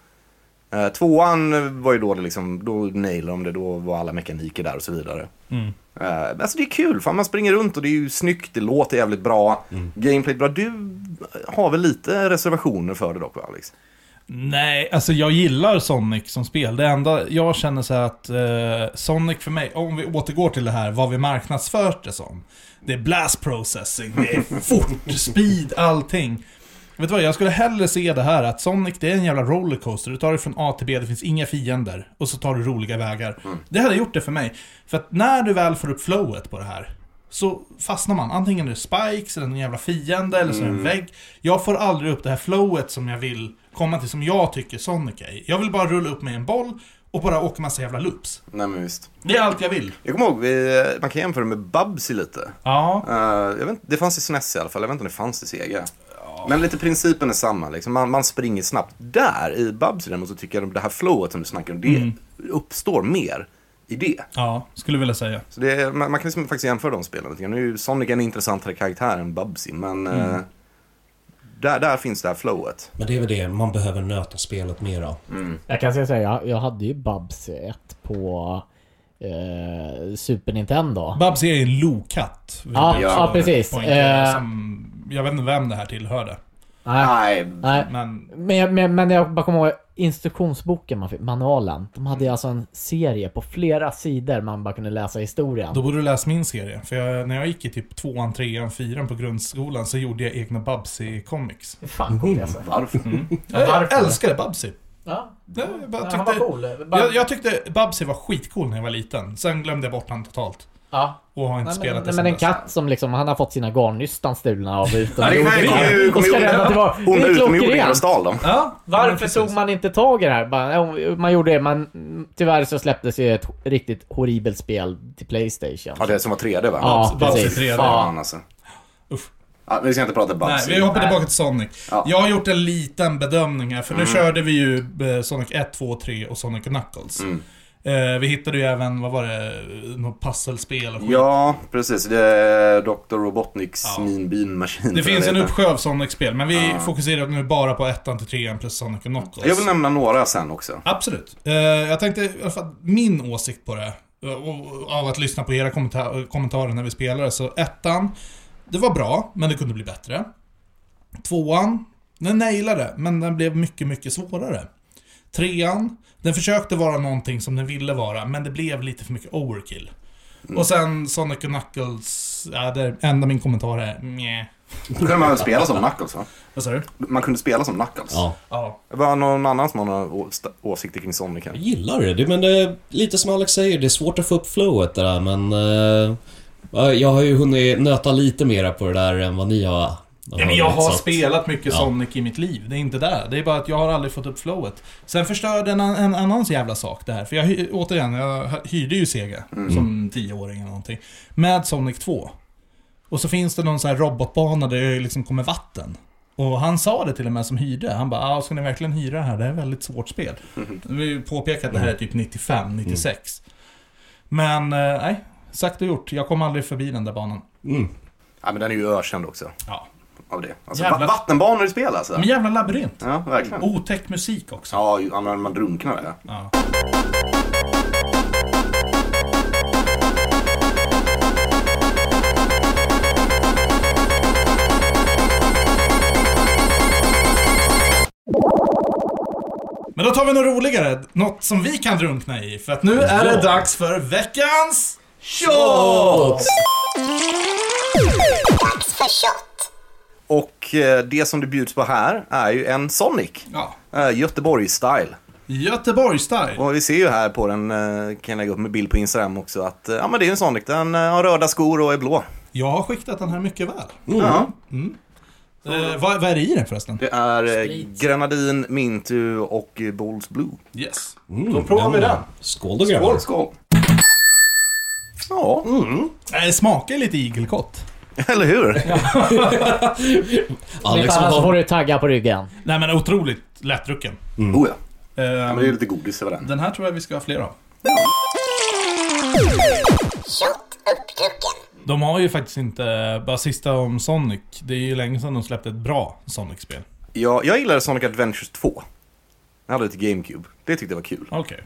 Eh, tvåan var ju då det liksom, då nailade de det, då var alla mekaniker där och så vidare. Eh, men alltså det är kul, fan man springer runt och det är ju snyggt, det låter jävligt bra. Gameplay är bra. Du har väl lite reservationer för det dock va, Alex? Nej, alltså jag gillar Sonic som spel. Det enda jag känner så här att eh, Sonic för mig, om vi återgår till det här, vad vi marknadsfört det som. Det är blast processing, det är fort, speed, allting. Vet du vad, jag skulle hellre se det här att Sonic det är en jävla rollercoaster. Du tar dig från A till B, det finns inga fiender. Och så tar du roliga vägar. Det hade gjort det för mig. För att när du väl får upp flowet på det här, så fastnar man. Antingen är det spikes, eller en jävla fiende, eller så är det en vägg. Jag får aldrig upp det här flowet som jag vill komma till, som jag tycker Sonic är. Jag vill bara rulla upp med en boll och bara åka massa jävla loops. Nej men visst. Det är allt jag vill. Jag kommer ihåg, vi, man kan jämföra med Bubsy lite. Ja. Eh, jag vet inte, det fanns i SNES i alla fall, jag vet inte om det fanns i Sega. Men lite principen är samma, liksom. man, man springer snabbt. Där i Bubsy däremot så tycker jag det här flowet som du snackar om, Mm. det uppstår mer i det. Ja, skulle vilja säga. Så det är, man, man kan liksom faktiskt jämföra de spelen lite grann. Nu är ju Sonic en intressantare karaktär än Bubsy, men Mm. eh, där, där finns det här flowet. Men det är väl det, man behöver nöta spelet mera. Jag kan säga så här, jag, jag hade ju Babs 1 på eh, Super Nintendo. Babs är en lokatt. vill Ja, jag ja, precis. poängtera, Eh. som- Jag vet inte vem det här tillhörde. Nej. Nej, Nej. Men Men, jag- men, men jag bara kommer ihåg instruktionsboken man fick, manualen. De hade ju alltså en serie på flera sidor man bara kunde läsa historien. då borde du läsa min serie. För jag, när jag gick i typ tvåan, trean, fyran på grundskolan så gjorde jag egna Babsy-comics. Fan coolt alltså. varför? Jag älskade Babsy. Ja. Ja, Jag, bara Ja, tyckte, han var cool. Bara- jag, jag tyckte Babsy var skitcool när jag var liten. Sen glömde jag bort han totalt. Ja. Och har inte Nej, men, spelat det nej, sen men en dess. katt som liksom, han har fått sina garnnystan stulna av utomjordingar. nej, kom ju- kom Och ska ju- lämna tillbaka. Det Onda är utomjordingar och klockrent. stal dem. Ja, men Varför precis. tog man inte tag i det här? Bara, ja, Man gjorde det, men tyvärr så släpptes ju ett riktigt horribelt spel till Playstation. Ja, det som var 3D va? Ja, Bowser precis. 3D. Fan Ja. alltså. Uff. Ja, vi ska inte prata Nej, Bugsy. vi hoppar tillbaka till Sonic. Ja. Jag har gjort en liten bedömning här, för nu körde vi ju eh, Sonic 1, 2, 3 och Sonic Knuckles. Eh, vi hittade ju även, vad var det, något pusselspel och skit. Ja, precis. Det är Dr. Robotniks Ja. Mean Bean Machine. Det tror jag finns en heter. uppsjö av Sonic-spel, men vi fokuserar nu bara på 1 till 3 plus Sonic Knuckles. Jag vill nämna några sen också. Absolut. Eh, jag tänkte i alla fall min åsikt på det. eh, Och, och, av att lyssna på era kommenta- kommentarer när vi spelade. Så ettan, det var bra, men det kunde bli bättre. Tvåan, den nailade, men den blev mycket, mycket svårare. Trean, den försökte vara någonting som den ville vara, men det blev lite för mycket overkill. Och sen Sonic Knuckles, ja, det enda min kommentar är meh. Då kunde man väl spela som Knuckles va? Vad sa du? Man kunde spela som Knuckles. Ja. Ja. Det var någon annan som har några å- st- åsikter kring Sonic Jag här. gillar det. det, men det är lite som Alex säger, det är svårt att få upp flowet det där men... eh, jag har ju hunnit nöta lite mera på det där än vad ni har. Ja, men jag så har att- spelat mycket Sonic i mitt liv, det är inte där. Det är bara att jag har aldrig fått upp flowet. Sen förstörde en, en annan så jävla sak det här. För jag, hy- återigen, jag hyrde ju Sega som tioåring eller någonting. Med Sonic 2. Och så finns det någon sån här robotbana där det liksom kommer vatten. Och han sa det till och med som hyrde. Han bara ah, ska ni verkligen hyra det här? Det här är ett väldigt svårt spel. Vi har ju påpekat att det här är typ 95, 96. Men eh, nej, sagt och gjort. Jag kom aldrig förbi den där banan. Ja, men den är ju ökänd också. Ja. Av det. Alltså, Jävlar. va- vattenbanor i spel alltså. Men jävla labyrint. Ja, verkligen. Otäck musik också. Ja, ju- ja, men man drunknar där. Ja. Men då tar vi något roligare. Något som vi kan drunkna i. För att nu är det dags för veckans shot! Och eh, det som det bjuds på här är ju en Sonic. Ja. Eh, Göteborg-style. Göteborg-style. Och vi ser ju här på den, eh, kan jag lägga upp med bild på Instagram också, att eh, ja, men det är en Sonic. Den eh, har röda skor och är blå. Jag har skiktat den här mycket väl. Ja. Eh, vad, vad är det i den förresten? Det är eh, Sprit. grenadin, mintu och eh, Bulls Blue. Mm. Yes. Då provar vi den. Mm, Skål då grabbar. skål. Mm. Ja, Eh, smakar lite igelkott. eller hur? Om Alex inte annars så har... alltså, får du tagga på ryggen. Nej men otroligt lättdrucken. Oh, ja. Eh, Men det är lite godis över den. Den här tror jag vi ska ha fler av. De har ju faktiskt inte, bara sista om Sonic, det är ju länge sedan de släppte ett bra Sonic-spel. Jag, jag gillade Sonic Adventures 2. Jag hade ett GameCube. Det tyckte jag var kul. Okej.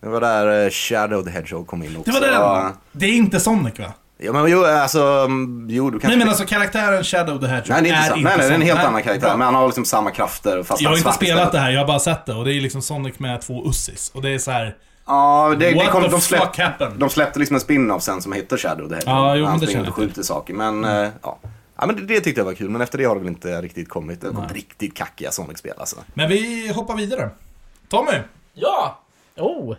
Det var där eh, Shadow the Hedgehog kom in också. Det var den! Ja. Det är inte Sonic va? Ja, men jo, alltså... mm, Jo, du kanske... Nej men alltså karaktären Shadow the Hedgehog Nej, det är inte, samma. nej, nej, det är en Sonic. helt Nej, annan karaktär. bra. Men han har liksom samma krafter fast Jag han har är inte svart istället. spelat det här, jag har bara sett det. Och det är liksom Sonic med två ussis. Och det är så här. Ja, det, det What kom, the de, fuck happened? släpp, de släppte liksom en spin-off sen som hette Shadow the Hedgehog. Ja, jo, När men det han Mm. springer känner runt och jag skjuter saker. Men, eh, ja. ja men det, det tyckte jag var kul. Men efter det har det väl inte riktigt kommit. Det var riktigt kackiga Sonic-spel alltså. Men vi hoppar vidare. Tommy! Ja! Oh!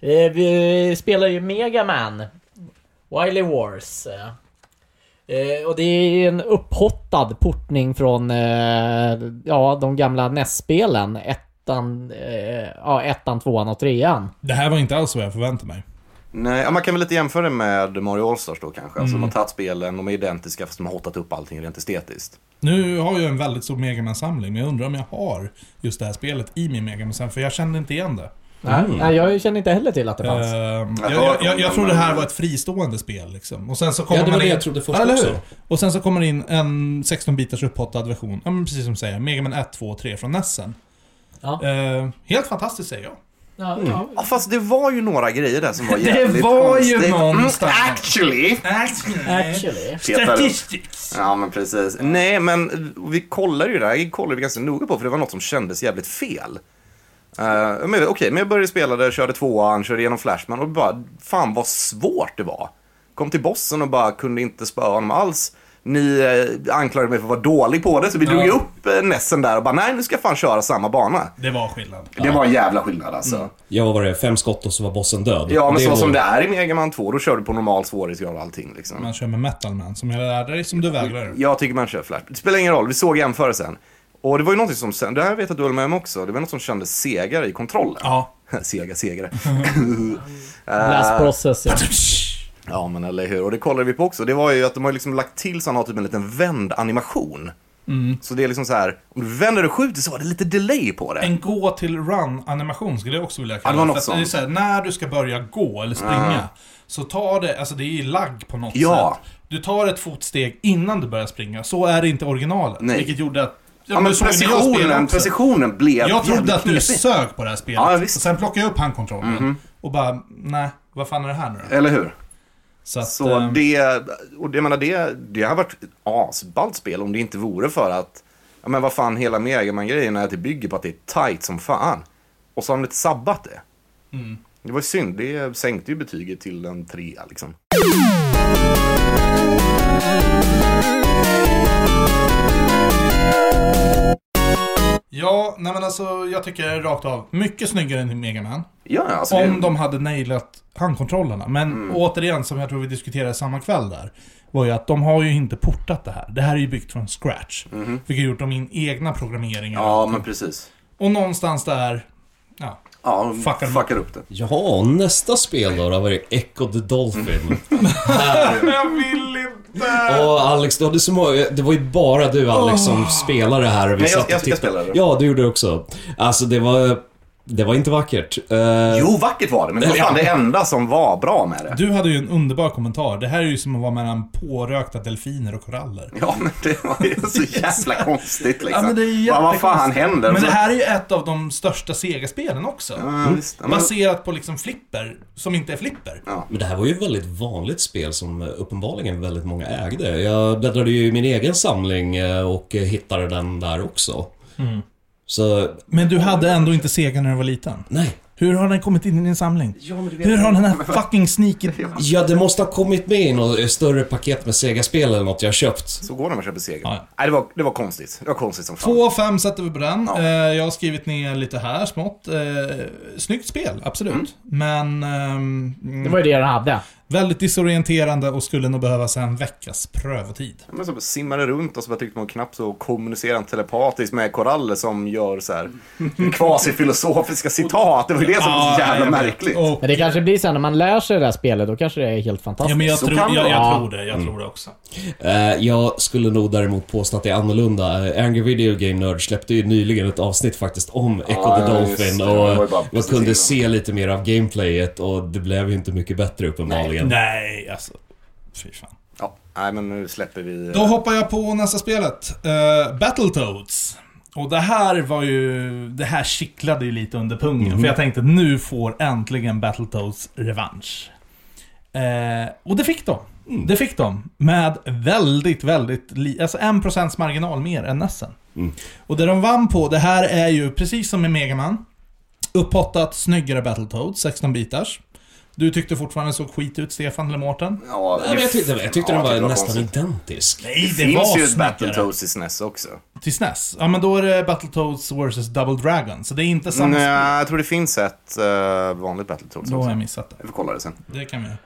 Eh, Vi spelar ju Mega Man. Wily Wars. eh. Eh, Och det är en upphottad portning från eh, ja, de gamla NES-spelen. Ettan, eh, ja, ettan, tvåan och trean. Det här var inte alls vad jag förväntade mig. Nej, ja, man kan väl lite jämföra det med Mario Allstars då kanske. Alltså Mm. de har tagit spelen, de är identiska fast de har hotat upp allting rent estetiskt. Nu har jag en väldigt stor Megaman-samling, men jag undrar om jag har just det här spelet i min Megaman-samling, för jag kände inte igen det. Nej, Nej, jag känner inte heller till att det fanns. Ehm, jag, Jag jag, hörde jag, om jag det, tror det här men- var ett fristående spel liksom. Och sen så Ja, kommer det var man det in... jag trodde först Eller hur? också. Och sen så kommer det in en 16-bitars upphottad version. Ja, men precis som du säger. Mega Man 1, 2 och 3 från Nessen. Ja. Ehm, helt fantastiskt säger jag. Ja, ja. Ja, fast det var ju några grejer där som var Det jävligt var ju konstigt. någonstans. Mm, actually! Actually. Petar. Ja, men precis. Nej, men vi kollade ju det här. Vi kollade vi ganska noga på, för det var något som kändes jävligt fel. Eh, men Okej, men jag började spela det, körde tvåan, körde igenom Flashman och bara, fan vad svårt det var. Kom till bossen och bara kunde inte spöa honom alls. ni eh, anklagade mig för att vara dålig på det, så vi drog ju upp eh, Nessen där och bara, nej nu ska jag fan köra samma bana. Det var skillnad. Det var en jävla skillnad alltså. Ja, vad var det? Fem skott och så var bossen död. Ja, men det så var- som det är i Mega Man 2, då kör du på normal svårighetsgrad och allting liksom. Man kör med Metal Man, som jag lärde dig, som du vägrar. Jag tycker man kör Flash. Det spelar ingen roll, vi såg jämförelsen. Och det var ju någonting som, sen- det här vet jag att du höll med om också, det var något som kändes segare i kontrollen. Ja. Sega segare. Last process ja. ja men eller hur, och det kollade vi på också. Det var ju att de har ju liksom lagt till så han har typ en liten vänd animation. Mm. Så det är liksom så här, om du vänder och skjuter så var det lite delay på det. En gå till run-animation skulle jag också vilja kalla Ja, det var något För att sånt. är så här, när du ska börja gå eller springa, så tar det, alltså det är ju lagg på något Ja. sätt. Du tar ett fotsteg innan du börjar springa, så är det inte i originalet. Nej. Vilket gjorde att... Ja, Ja men men du såg ju när jag spelade precisionen, också. precisionen blev Jag jävligt trodde att du knepig. sög på det här spelet. Ja, Ja, visst. Mhm. Sen plockade jag upp handkontrollen och bara, nej, vad fan är det här nu då? Eller hur? Så, att, Så ehm, det, och det, jag menar, det, det har varit ett asballt spel om det inte vore för att, ja men vad fan hela Mega man grejen är att det bygger på att det är tight som fan. Och så har de lite sabbat det. Mm. Det var ju synd, det sänkte ju betyget till en trea liksom. Ja, nej men alltså jag tycker rakt av, mycket snyggare än Mega Man. Ja, alltså det, Mm. Om de hade nailat handkontrollerna. Men återigen, som jag tror vi diskuterade samma kväll där, var ju att de har ju inte portat det här. Det här är ju byggt från scratch. Vilket gjort dem in egna programmeringar. Mhm. Ja, men precis. Och någonstans där, ja. Ja, de Fuckar fuckar, upp. upp det. Ja, nästa spel då, då var det Echo the Dolphin. Jag vill inte! Och Alex, du hade så många, det var ju bara du Alex som spelade det här. och Vi Nej, jag- satt och jag- jag tittade. spelade. Ja, du gjorde det också. Alltså det var, det var inte vackert. Eh, Jo, vackert var det, men det var fan det enda som var bra med det. Du hade ju en underbar kommentar. Det här är ju som att vara mellan pårökta delfiner och koraller. Ja, men det var ju så jävla konstigt liksom. Ja, men det är Vad- vad fan jättekonstigt. händer? Men Så- det här är ju ett av de största Sega-spelen också. Ja, visst. Ja, men- Baserat på liksom flipper, som inte är flipper. Men det här var ju ett väldigt vanligt spel som eh, uppenbarligen väldigt många ägde. Jag bläddrade ju i min egen samling eh, och eh, hittade den där också. Så, Men du hade ändå inte Sega när du var liten? nej. Hur har den kommit in i din samling? Hur har den här fucking sneaken... Ja, det måste ha kommit med i något eh, större paket med Sega-spel eller något jag köpt. Så går det när man köper seger. Ja. Nej, det var, det var konstigt. Det var konstigt som fan. Två av fem sätter vi på den. Ja. Eh, Jag har skrivit ner lite här smått. Eh, Snyggt spel, Mm. absolut. Men ehm, Det var ju det den hade. väldigt disorienterande och skulle nog behövas en veckas prövotid. Ja, Men så simmade runt och så bara tryckte man på en knapp så kommunicerade han telepatiskt med koraller som gör så här kvasifilosofiska citat. Det var ju det som var så jävla jag vet. märkligt. Och, Men det kanske blir sen när man lär sig det här spelet, då kanske det är helt fantastiskt. ja, men jag, Så tror, jag, kan det Mm. jag vara. tror det. Jag tror det också. Eh, Jag skulle nog däremot påstå att det är annorlunda. Eh, Angry Video Game Nerd släppte ju nyligen ett avsnitt faktiskt om Echo Ja, the ja, Dolphin just det. Det var ju bara och man precis kunde innan. se lite mer av gameplayet och det blev ju inte mycket bättre uppenbarligen. Nej, alltså. Fy fan. Ja, nej men nu släpper vi... Då hoppar jag på nästa spelet. Eh, Battletoads. Och det här var ju... Det här kittlade ju lite under pungen. För jag tänkte nu får äntligen Battletoads revansch. Eh, och det fick de. Det fick de. Med väldigt, väldigt... Li- alltså 1% marginal mer än Nessen. Och det de vann på, det här är ju precis som i Megaman. Upphottat, snyggare Battletoads, 16-bitars. Du tyckte fortfarande såg skit ut, Stefan eller Mårten? Ja, Nej, men jag tyckte, jag tyckte ja, den var det nästan konstigt. identisk. Nej, Det finns ju ett Battletoads i SNES också. Till SNES? Ja, men då är det Battletoads vs. Double Dragon. Så det är inte samma spel. Nej, Mm, eh, jag tror det finns ett eh, vanligt Battletoads Då har också. jag missat det. Vi får kolla det sen. Det kan vi göra.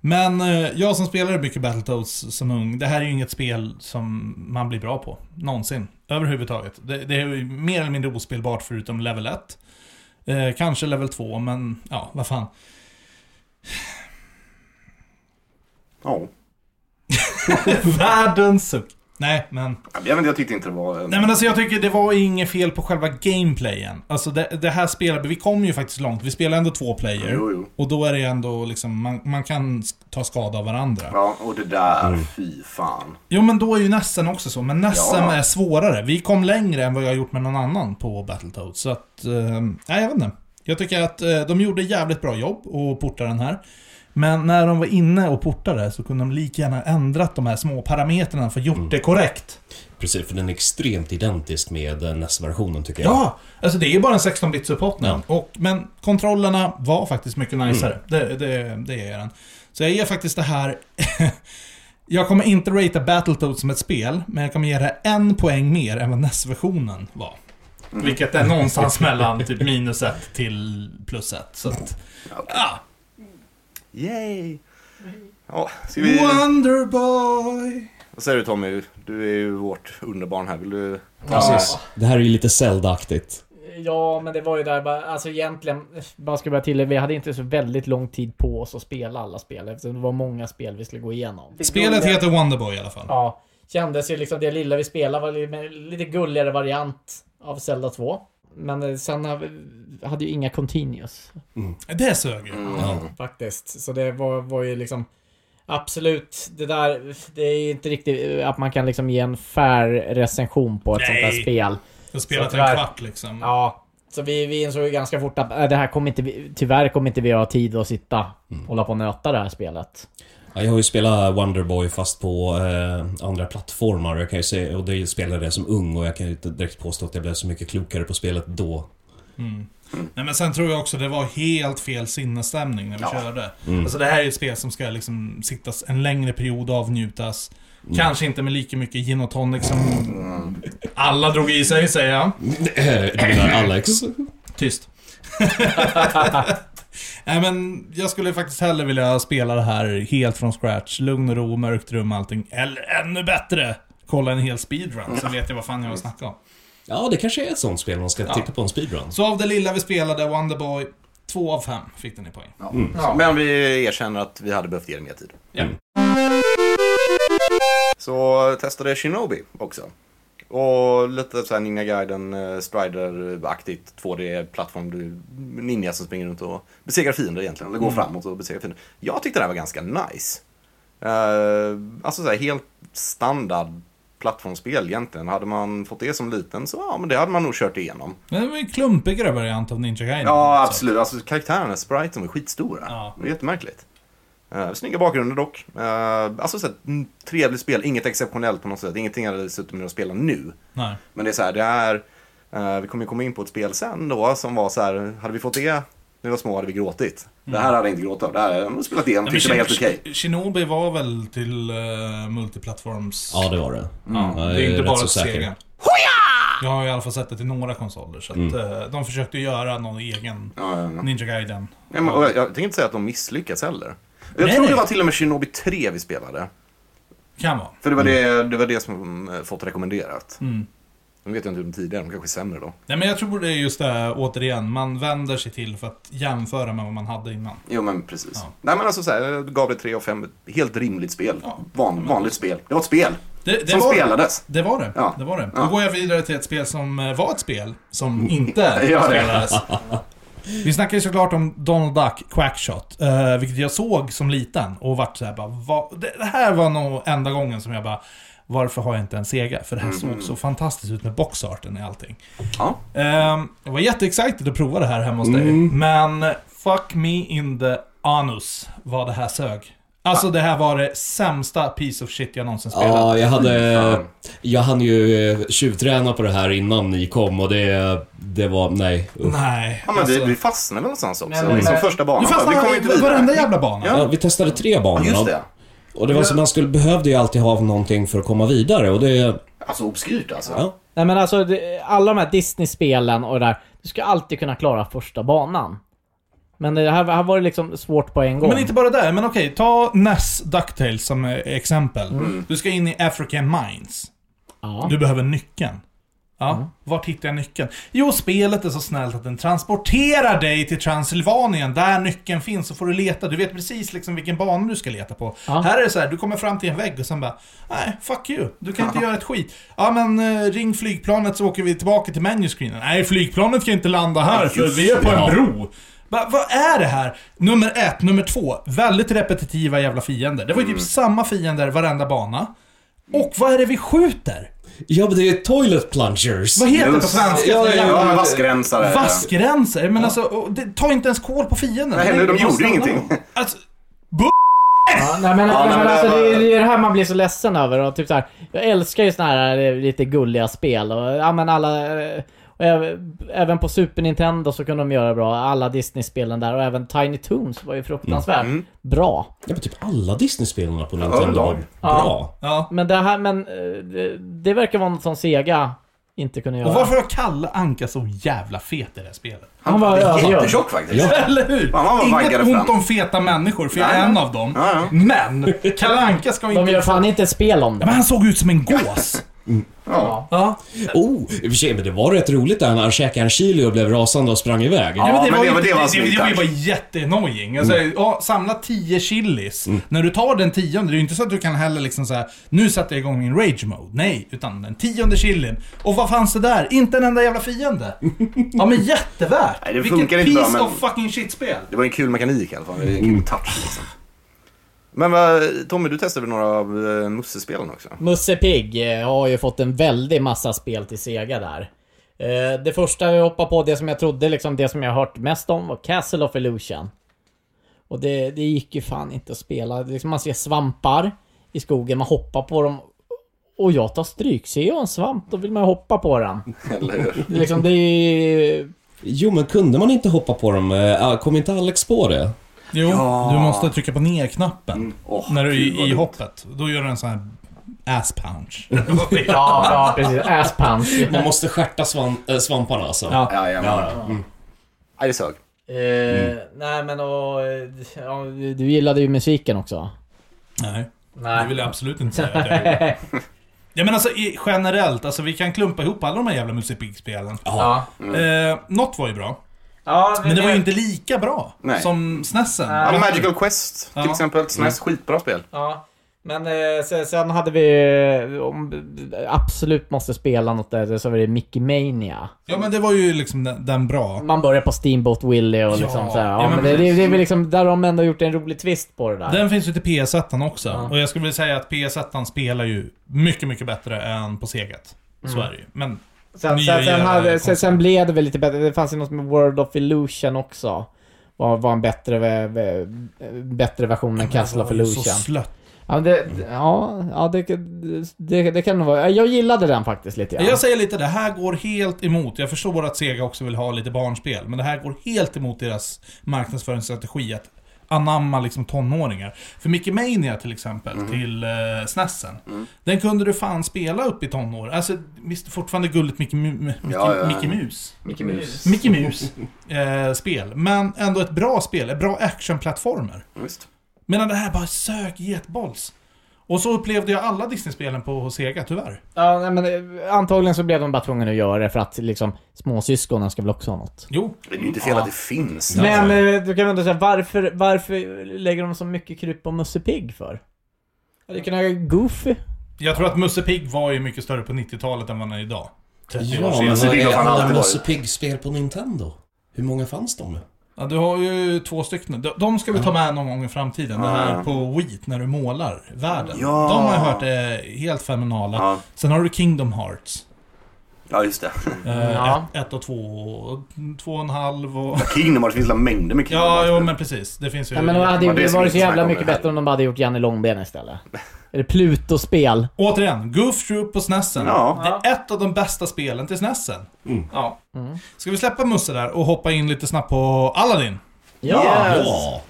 Men eh, jag som spelade mycket Battletoads som ung, det här är ju inget spel som man blir bra på. Någonsin. Överhuvudtaget. Det, det är ju mer eller mindre ospelbart förutom level 1. Eh, kanske level 2, men ja, vad fan. Ja. Världens suck. Nej, men... Jag vet inte, jag tyckte inte det var... Nej men alltså jag tycker det var inget fel på själva gameplayen. Alltså det, det här spelet, vi kom ju faktiskt långt. Vi spelar ändå två player. Jo, jo. Och då är det ändå liksom, man, man kan s- ta skada av varandra. Ja, och det där, fy fan. Jo men då är ju Nessen också så, men Nessen Ja. är svårare. Vi kom längre än vad jag har gjort med någon annan på Battletoads. Så att, eh, nej jag vet inte. Jag tycker att eh, de gjorde jävligt bra jobb och portade den här. Men när de var inne och portade så kunde de lika gärna ändrat de här små parametrarna för gjort Mm. det korrekt. Precis, för den är extremt identisk med eh, NES-versionen tycker jag. Ja, alltså det är ju bara en 16-bits upphottning. Och, men kontrollerna var faktiskt mycket najsare. Det, det, det är den. Så jag ger faktiskt det här... Jag kommer inte ratea Battletoads som ett spel, men jag kommer ge det en poäng mer än vad NES-versionen var. Vilket är någonstans mellan typ minus ett till plus ett. Så att, ah, Yay! Ja, ska vi... Wonderboy! Vad säger du Tommy? Du är ju vårt underbarn här. Vill du... Precis. Det här är ju lite Zelda-aktigt. Ja, men det var ju där bara, alltså egentligen, man ska bara tillägga, vi hade inte så väldigt lång tid på oss att spela alla spel eftersom det var många spel vi skulle gå igenom. Spelet heter Wonderboy i alla fall. Ja, kändes ju liksom det lilla vi spelade var lite, lite gulligare variant av Zelda 2. Men eh, sen har vi- hade ju inga continuous Det sög ju. Ja. faktiskt. Så det var, var ju liksom Absolut, det där, det är ju inte riktigt eh, att man kan liksom ge en fair recension på ett sånt Nej. där spel. Jag spelat Så en tyvärr- kvart liksom. Ja, så vi, vi insåg ju ganska fort att äh, det här kommer inte vi, tyvärr kommer inte vi ha tid att sitta Mm. och hålla på och nöta det här spelet. Ja, Jag har ju spelat Wonderboy fast på eh, andra plattformar. Jag kan ju se, och det spelade jag som ung och jag kan ju inte direkt påstå att jag blev så mycket klokare på spelet då. Nej men sen tror jag också det var helt fel sinnesstämning när vi körde. Alltså det här är ju ett spel som ska liksom sittas en längre period och avnjutas. Kanske inte med lika mycket gin och tonic som alla drog i sig säger jag. Du menar Alex? Tyst. Nej men jag skulle faktiskt hellre vilja spela det här helt från scratch. Lugn och ro, mörkt rum och allting. Eller ännu bättre! Kolla en hel speedrun så vet jag vad fan jag har snackat om. Ja, det kanske är ett sånt spel man ska titta på en speedrun. Så av det lilla vi spelade, Wonderboy, 2 av 5 fick den i poäng. Ja. Mm. Men vi erkänner att vi hade behövt ge det mer tid. Mm. Ja. Så testade jag Shinobi också. Och lite såhär Ninja Gaiden, eh, Strider-aktigt 2D-plattform. Du ninja som springer runt och besegrar fiender egentligen. Eller går framåt och besegrar fiender. Jag tyckte det här var ganska nice. Eh, alltså såhär helt standard plattformsspel egentligen. Hade man fått det som liten så ja, men det hade man nog kört igenom. Men det var ju en klumpigare variant av Ninja Gaiden. Ja, Så. absolut. Alltså karaktärerna, spriten var skitstora. Ja. Det var jättemärkligt. Uh, snygga bakgrunder dock. Eh, alltså så här, mm, trevligt spel, inget exceptionellt på något sätt. Ingenting jag hade suttit med och spelat nu. Nej. Men det är så här, det är... eh, vi kommer ju komma in på ett spel sen då som var så här, hade vi fått det när vi var små hade vi gråtit. Det här hade jag inte gråtit av. Det här jag har spelat igenom och Nej, Mm. men tyckte det var helt okej. Shin- Shinobi var väl till uh, multiplattforms... Ja, det var det. Ja, Jag det är inte rätt bara så till säker. Sega. Jag har i alla fall sett det till några konsoler. Så att, Mm. eh, de försökte göra någon egen Ja, ja, ja. Ninja Gaiden. Nej, men, och jag, jag tänker inte säga att de misslyckats heller. Jag Nej, tror nej. det var till och med Shinobi 3 vi spelade. Kan vara. För det var, Mm. det, det, var det som eh, fått rekommenderat. Mm. De vet jag inte hur de tidigare, de kanske är sämre då. Nej men jag tror det är just det här, återigen, man vänder sig till för att jämföra med vad man hade innan. Jo men precis. Ja. Nej men alltså så här, jag gav det 3 av 5. Helt rimligt spel. Van, vanligt spel. Det var ett spel. Det, det som var det. spelades. Det var det. Ja. det, var det. Ja. Då går jag vidare till ett spel som eh, var ett spel, som inte Ja, ja. spelades. Vi snackar ju såklart om Donald Duck Quackshot, eh, vilket jag såg som liten och vart såhär bara, va, det, det här var nog enda gången som jag bara, varför har jag inte en Sega? För det Mm. här såg så fantastiskt ut med boxarten och allting. Ja. Ehm, jag var jätteexcited att prova det här hemma hos Mm. dig. Men fuck me in the anus vad det här sög. Alltså Ah. det här var det sämsta piece of shit jag någonsin spelat. Ja, jag hade... Jag hann ju eh, tjuvträna på det här innan ni kom och det... Det var... Nej. usch. Nej. Ja men alltså, vi, vi fastnade väl någonstans också. men- liksom första banan. du bara, vi kommer fastnade inte på vidare. varenda jävla bana. Ja. Ja, vi testade tre banor. Just det. Och det var så man skulle, behövde ju alltid ha någonting för att komma vidare och det... Alltså obskyrt alltså. Ja. Nej men alltså, det, alla de här Disney-spelen och det där, du ska alltid kunna klara första banan. Men det här, här var det liksom svårt på en gång. Men inte bara där, men okej, ta Ness Ducktails som eh, exempel. Mm. Du ska in i African Mines. Ja. Du behöver nyckeln. Ja, vart hittar jag nyckeln? Jo, spelet är så snällt att den transporterar dig till Transylvanien, där nyckeln finns, så får du leta. Du vet precis liksom vilken bana du ska leta på. Ja. Här är det så här, du kommer fram till en vägg och sen bara, nej, fuck you. Du kan inte göra ett skit. Ja, men eh, ring flygplanet så åker vi tillbaka till menuscreenen. Nej, flygplanet kan inte landa här, för just vi är på det, en ja. bro. Va, vad är det här? Nummer ett, nummer två. Väldigt repetitiva jävla fiender. Det var ju typ samma fiender varenda bana. Och vad är det vi skjuter? Ja, men det är toilet plungers. Vad heter det på Just- svenska? Ja, ja, Ja, men Jävla- vassgränsare. Vassgränser? Men alltså, och det, ta inte ens koll på fienden. Nej, Det de måste gjorde ju stanna. ingenting. Alltså, Ja, nej, men, Ja, nej, men, men det alltså, var- det, det är det här man blir så ledsen över. Och typ så här, jag älskar ju såna här eh, lite gulliga spel. Och, ja, men alla, eh, Och även- Även på Super Nintendo så kunde de göra bra. Alla Disney-spelen där och även Tiny Toons var ju fruktansvärt Mm. bra. Ja, men typ alla Disney-spelarna på Nintendo var överlag. bra. Ja. Men det här, men eh, det, det verkar vara något som Sega inte kunde göra. Och varför var Kalle Anka så jävla fet i det här spelet? Han var alltså, övergörd. Jättetjock faktiskt. Eller hur? Fan, han var Inget vaggare ont fram. om feta människor, för jag Nej, är nej. en av dem. Ja, ja. Men Kalle Anka ska De inte... gör fan inte ett spel om Men det. han såg ut som en gås. Ja. Ja. Oh, i och för sig, men det var rätt roligt där när han käkade en chili och blev rasande och sprang iväg. Ja, men det ju- var- Mm. det var det, snyggt, var ju tack. bara jätteenojing. Alltså, ja, samla 10 chilis. Mm. När du tar den tionde, det är ju inte så att du kan heller liksom så här. nu sätter jag igång min rage mode. Nej, utan den tionde chilin. Och vad fanns det där? Inte en enda jävla fiende. ja men jättevärt. Nej, det Vilket funkar inte bra, piece men- of fucking shit-spel. Det var en kul mekanik i alla fall. Det var en Mm. kul touch liksom. Men vad- Tommy, du testade väl några av eh, Musse-spelen också? Musse Pigg eh, har ju fått en väldig massa spel till Sega där. Eh, Det första jag hoppade på, det som jag trodde liksom, det som jag hört mest om var Castle of Illusion. Och det, det gick ju fan inte att spela. Det är Liksom man ser svampar i skogen, man hoppar på dem. Och jag tar stryk. Ser jag en svamp, då vill man ju hoppa på den. Eller hur? Det är Liksom, det är ju... Jo, men kunde man inte hoppa på dem? Eh, Kom inte Alex på det? Jo, du måste trycka på ner-knappen. Mm. Åh, när du är gud, vad i dumt. hoppet. Då gör du en sån här ass punch. Ja, ja precis. Ass punch. Man måste stjärta svan- eh, svamparna alltså. Ja. Ja, ja, ja. Mm. Nej, det sög. Eh, Nej men och, eh, ja, du gillade ju musiken också. Nej, det Nej. vill jag absolut inte säga. att jag gjorde. Ja men alltså i, generellt, alltså vi kan klumpa ihop alla de här jävla Musse Pigg-spelen. Ja. Mm. Eh, något var ju bra, ja men det var ju inte lika bra Nej. som SNESen. Ja, Eller- Magical Quest till Ja. Mm. exempel. SNES, skitbra spel. Ja, men eh, sen, sen hade vi... eh, Om, absolut måste spela något där, så var det Mickey Mania. Ja men det var ju liksom den, den bra. Man börjar på Steamboat Willie och liksom så här, ja, ja, men men det, det, det är väl liksom där de ändå gjort en rolig twist på det där. Den finns ju till PS1 också. Och jag skulle vilja säga att PS1 spelar ju mycket, mycket bättre än på Segat. Så är det ju. Men... Mm. sen, nya sen, sen, jävla hade, sen, koncept. sen blev det väl lite bättre. Det fanns ju något med World of Illusion också. Var, var en bättre, vä- vä- bättre version än Castle of alltså, Det var ju så Illusion. slött. Ja, men det, ja, ja det, det, det kan nog vara. Jag gillade den faktiskt lite grann. Jag säger lite, det här går helt emot. Jag förstår att Sega också vill ha lite barnspel, men det här går helt emot deras marknadsföringsstrategi att anamma liksom tonåringar. För Mickey Mania till exempel, Mm. till uh, SNESen. Den kunde du fan spela upp i tonår. Alltså, visst fortfarande gulligt Mickey, Mu- Mickey, Ja, ja. Mickey Mus. Mickey Mouse. Mickey Mus. eh, spel. Men ändå ett bra spel, ett bra actionplattformer. Visst. Medan det här bara sök getbolls. Och så upplevde jag alla Disney-spelen på Sega, tyvärr. Ja, nej, men eh, antagligen så blev de bara tvungna att göra det för att liksom småsyskonen ska väl också ha något. Jo, Det är ju inte fel att det finns. Men eh, du kan väl ändå säga varför, varför lägger de så mycket kryp på Musse Pigg för? Hade kunnat göra Goofy. Jag tror att Musse Pigg var ju mycket större på 90-talet än vad han är idag. 30 Ja, år sedan. men Musse vad Pigg är har fan alla alltid Musse varit. Pigg-spel på Nintendo? Hur många fanns de? Ja, du har ju två stycken. De- De ska vi ta med någon gång i framtiden. Det här på Wheat när du målar världen. Ja. De har jag hört är helt fenomenala. Ja. Sen har du Kingdom Hearts. Ja, just det. Eh, Ja. ett, ett och två, och två och en halv och... Kingdom Hearts, det finns väl mängder med Kingdom Ja, Hearts. jo men precis. Det finns ju... Nej men det hade ju Men det det ska vi varit så inte snacka jävla om mycket här. bättre om de bara hade gjort Janne Långben istället. Eller Pluto-spel. Återigen, Goof Troop på SNESen. Ja. Mm. Det är ett av de bästa spelen till SNESen. Ja. Ska vi släppa Musse där och hoppa in lite snabbt på Aladdin? Ja! Ja.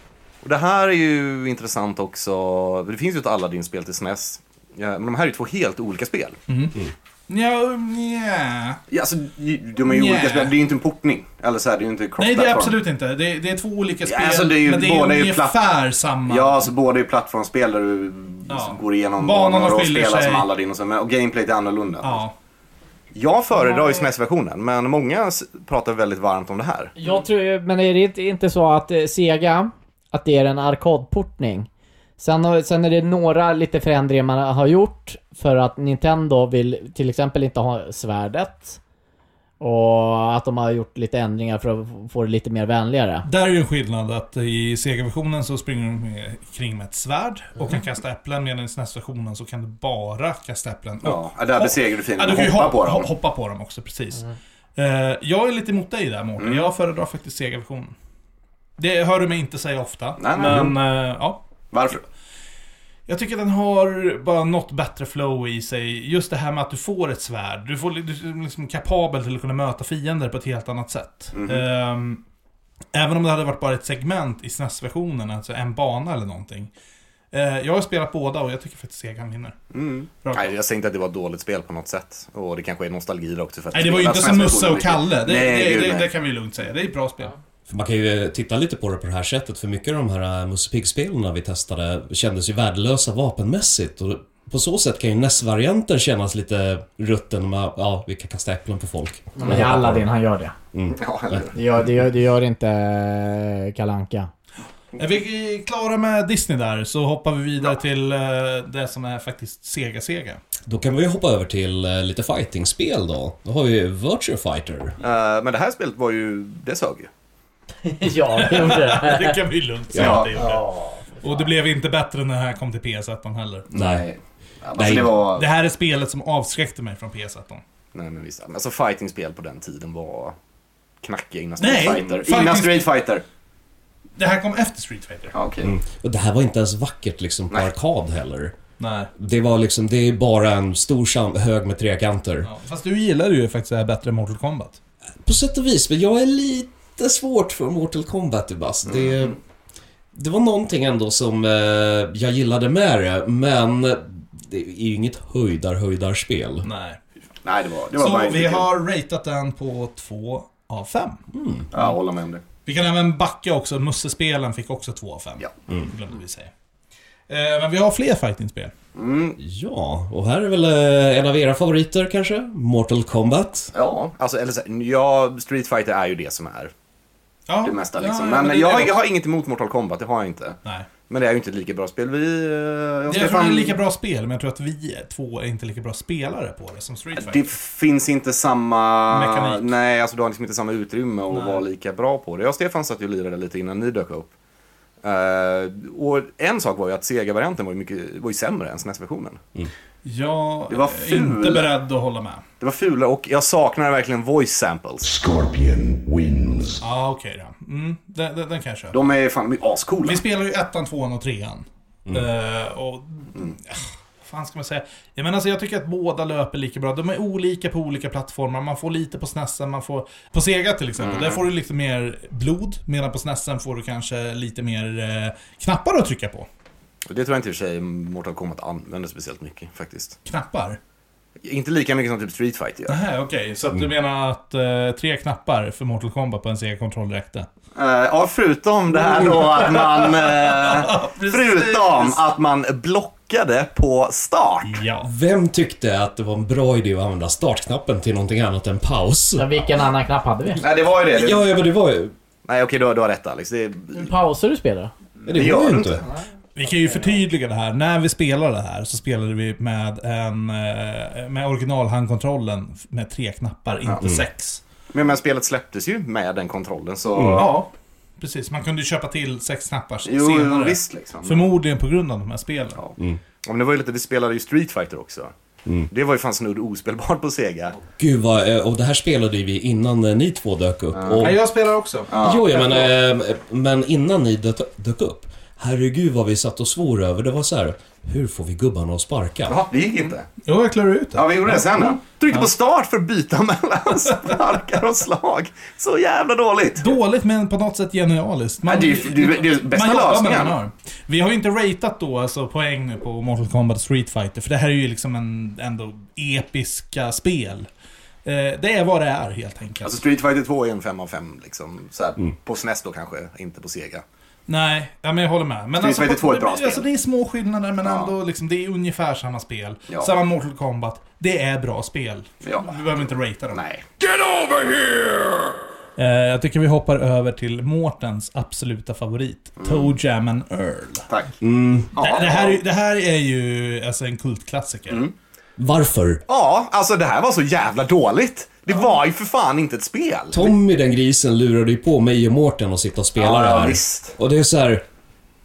Och det här är ju intressant också. Det finns ju ett Aladdin-spel till SNES. Ja, men de här är ju två helt olika spel. Mm. Ja, nja. Ja, alltså, de är ju Yeah. olika spel. Det är ju inte en portning. Eller så här, det är ju inte Nej, det är cross-platform. absolut inte. Det är, det är två olika spel, alltså, det är ju- men det är båda är ju ungefär samma. Ja, alltså båda är ju plattformsspel där du Ja. går igenom Banorna banor och skiljer spelar sig. som Aladdin och så. Men och gameplayt är annorlunda. Ja. Jag föredrar ju SNES-versionen, men många s- pratar väldigt varmt om det här. Jag tror ju- men är det inte- inte så att eh, Sega, att det är en arkadportning? Sen, har- sen är det några lite förändringar man har gjort för att Nintendo vill till exempel inte ha svärdet. Och att de har gjort lite ändringar för att få det lite mer vänligare. Där är ju en skillnad att i Sega-versionen så springer du med, kring med ett svärd och kan kasta äpplen medan i SNES-versionen så kan du bara kasta äpplen. Ja, där besegrar du fienden och kan ju hoppar på hop- dem. Mm. ho- Hoppa på dem också, precis. Eh, jag är lite emot dig där Mårten. Jag föredrar faktiskt Sega-versionen. Det hör du mig inte säga ofta. Nej, nej. men eh, ja. Varför? Jag tycker den har bara något bättre flow i sig. Just det här med att du får ett svärd. Du, får, du är liksom kapabel till att kunna möta fiender på ett helt annat sätt. Mhm. Ehm, även om det hade varit bara ett segment i SNES-versionen, alltså en bana eller någonting. Eh, jag har spelat båda och jag tycker faktiskt Segan vinner. Bra. Nej, jag säger inte att det var ett dåligt spel på något sätt. Och det kanske är nostalgi då också. För att Nej, det var ju spela inte som svenska Musse och versioner E mycket. Kalle. Det, nej, det, gud, det, nej. det kan vi lugnt säga. Det är ett bra spel. För man kan ju titta lite på det på det här sättet, för mycket av de här äh, Musse Pigg-spelen vi testade kändes ju värdelösa vapenmässigt. Och på så sätt kan ju NES-varianter kännas lite rutten, med, ja, vi kan kasta äpplen på folk. Men det är Aladdin, han gör det. Ja, eller hur? Det gör, det gör, det gör inte eh, Kalanka. Är vi klara med Disney där så hoppar vi vidare till eh, det som är faktiskt Sega-Sega. Då kan vi hoppa över till eh, lite fighting-spel då. Då har vi ju Virtua Fighter. Eh, Men det här spelet var ju, det sög ju. ja, det gjorde det. Det kan vi lugnt säga att det gjorde. Och det blev inte bättre när det här kom till PS1 heller. Nej. Ja, Nej. nej. Det var... Det här är spelet som avskräckte mig från PS1. nej, men visst. Alltså fighting-spel på den tiden var knackiga innan Nej, Street Fighter. fighting- Innan Street Fighter. Mm. Det här kom efter Street Fighter. Ja, okej. Och det här var inte ens vackert liksom på Nej. arkad heller. Nej. Det var liksom, det är bara en stor sam- hög med trekanter. Ja, fast du gillade ju faktiskt det här bättre än Mortal Kombat. På sätt och vis, men jag är lite svårt för Mortal Kombat i bass. Det, det var någonting ändå som eh, jag gillade med det, men det är ju inget höjdar-höjdarspel. Nej. Nej, det var... Det var Så bara- vi har ratat den på 2 av 5. Ja, jag håller med om det. Vi kan även backa också. Mussespelen fick också 2 av 5. Ja. Glömde vi säga. Eh, Men vi har fler fightingspel. Ja, och här är väl eh, en av era favoriter kanske? Mortal Kombat. Ja, alltså eller så, ja, Street Fighter är ju det som är Ja. det mesta ja, liksom. ja, Men det- jag, har- det- jag har inget emot Mortal Combat, det har jag inte. Nej. Men det är ju inte ett lika bra spel. Vi... eh, Jag Jag ska tror det är fan- lika bra spel, men jag tror att vi två är inte lika bra spelare på det som Street Fighter. Det finns inte samma... Mekanik. Nej, alltså du har liksom inte samma utrymme att vara lika bra på det. Jag och Stefan satt ju och lirade lite innan ni dök upp. Eh, och en sak var ju att Sega-varianten var ju, mycket, var ju sämre än E SNES-versionen. Jag Det var är ful. inte beredd att hålla med. Det var fulare och jag saknar verkligen voice samples. Scorpion wins. Ja, okej då. Mm, den, den, den kan jag köpa. De är fan de är ascoola. Vi spelar ju ettan, tvåan och trean. Eh, och... ah, vad fan ska man säga? Jag menar, alltså, jag tycker att båda löper lika bra. De är olika på olika plattformar. Man får lite på snessen, man får... På Sega till exempel, där får du lite mer blod. Medan på snessen får du kanske lite mer eh, knappar att trycka på. Och Det tror jag inte i och för sig Mortal Kombat använder speciellt mycket faktiskt. Knappar? Inte lika mycket som typ Street Fighter gör. Nej, okej. Så att du menar att eh, tre knappar för Mortal Kombat på en Sega-kontroll räckte? Eh, Ja, förutom det här då att man... eh, precis. förutom att man blockade på start. Ja. Vem tyckte att det var en bra idé att använda startknappen till någonting annat än paus? Så vilken annan knapp hade vi? Nej, det var ju det. Ja, ja men det var ju... Nej, okej, du, har- du har rätt Alex. Det, Pauser du spelar? Det, gör var ju du inte. inte. Vi kan ju förtydliga det här. När vi spelade det här så spelade vi med, en, eh, med originalhandkontrollen med tre knappar, inte Mm. sex. men, men spelet släpptes ju med den kontrollen så... Mm. Ja, precis. Man kunde ju köpa till sex knappar Jo, senare. visst liksom. Förmodligen på grund av de här spelen. Ja. Ja, men det var ju lite, vi spelade ju Street Fighter också. Mm. Det var ju fan snudd ospelbart på Sega. Gud vad, eh, och det här spelade ju vi innan eh, ni två dök upp. Och jag spelar också. Jo, ja, men, eh, men innan ni dök, dök upp. Herregud vad vi satt och svor över. Det var så här. Hur får vi gubbarna att sparka? Jaha, det gick inte. Jo, jag klarar ut det. Ja, vi gjorde det sen då. Tryckte på start för att byta mellan sparkar och slag. Så jävla dåligt. Dåligt men på något sätt genialiskt. Man, Ja, det är ju- det är ju- det är ju bästa man jobbar med lösningen. det man har. Vi har ju inte ratat då alltså poäng nu på Mortal Kombat och Street Fighter för det här är ju liksom en, ändå episka spel. Eh, det är vad det är helt enkelt. Alltså Street Fighter 2 är en 5 av 5 liksom. Så här, Mm. På SNES då kanske, inte på Sega. Nej, ja, men jag håller med. Men Street alltså, Fighter 2 är ett bra alltså, spel. det är små skillnader men Ja. ändå liksom, det är ungefär samma spel. Ja. Samma Mortal Kombat. Det är bra spel. Ja. Vi behöver inte ratea dem. Nej. Eh, jag tycker vi hoppar över till Mårtens absoluta favorit. Mm. Toe Jam and Earl. Tack. Det, det, här, är- det här är ju alltså, en kultklassiker. Mm. Varför? Ja, alltså det här var så jävla dåligt. Det var ju för fan inte ett spel. Tommy den grisen lurade ju på mig och Mårten att sitta och spela Ja, det ja, här. visst. Och det är så här.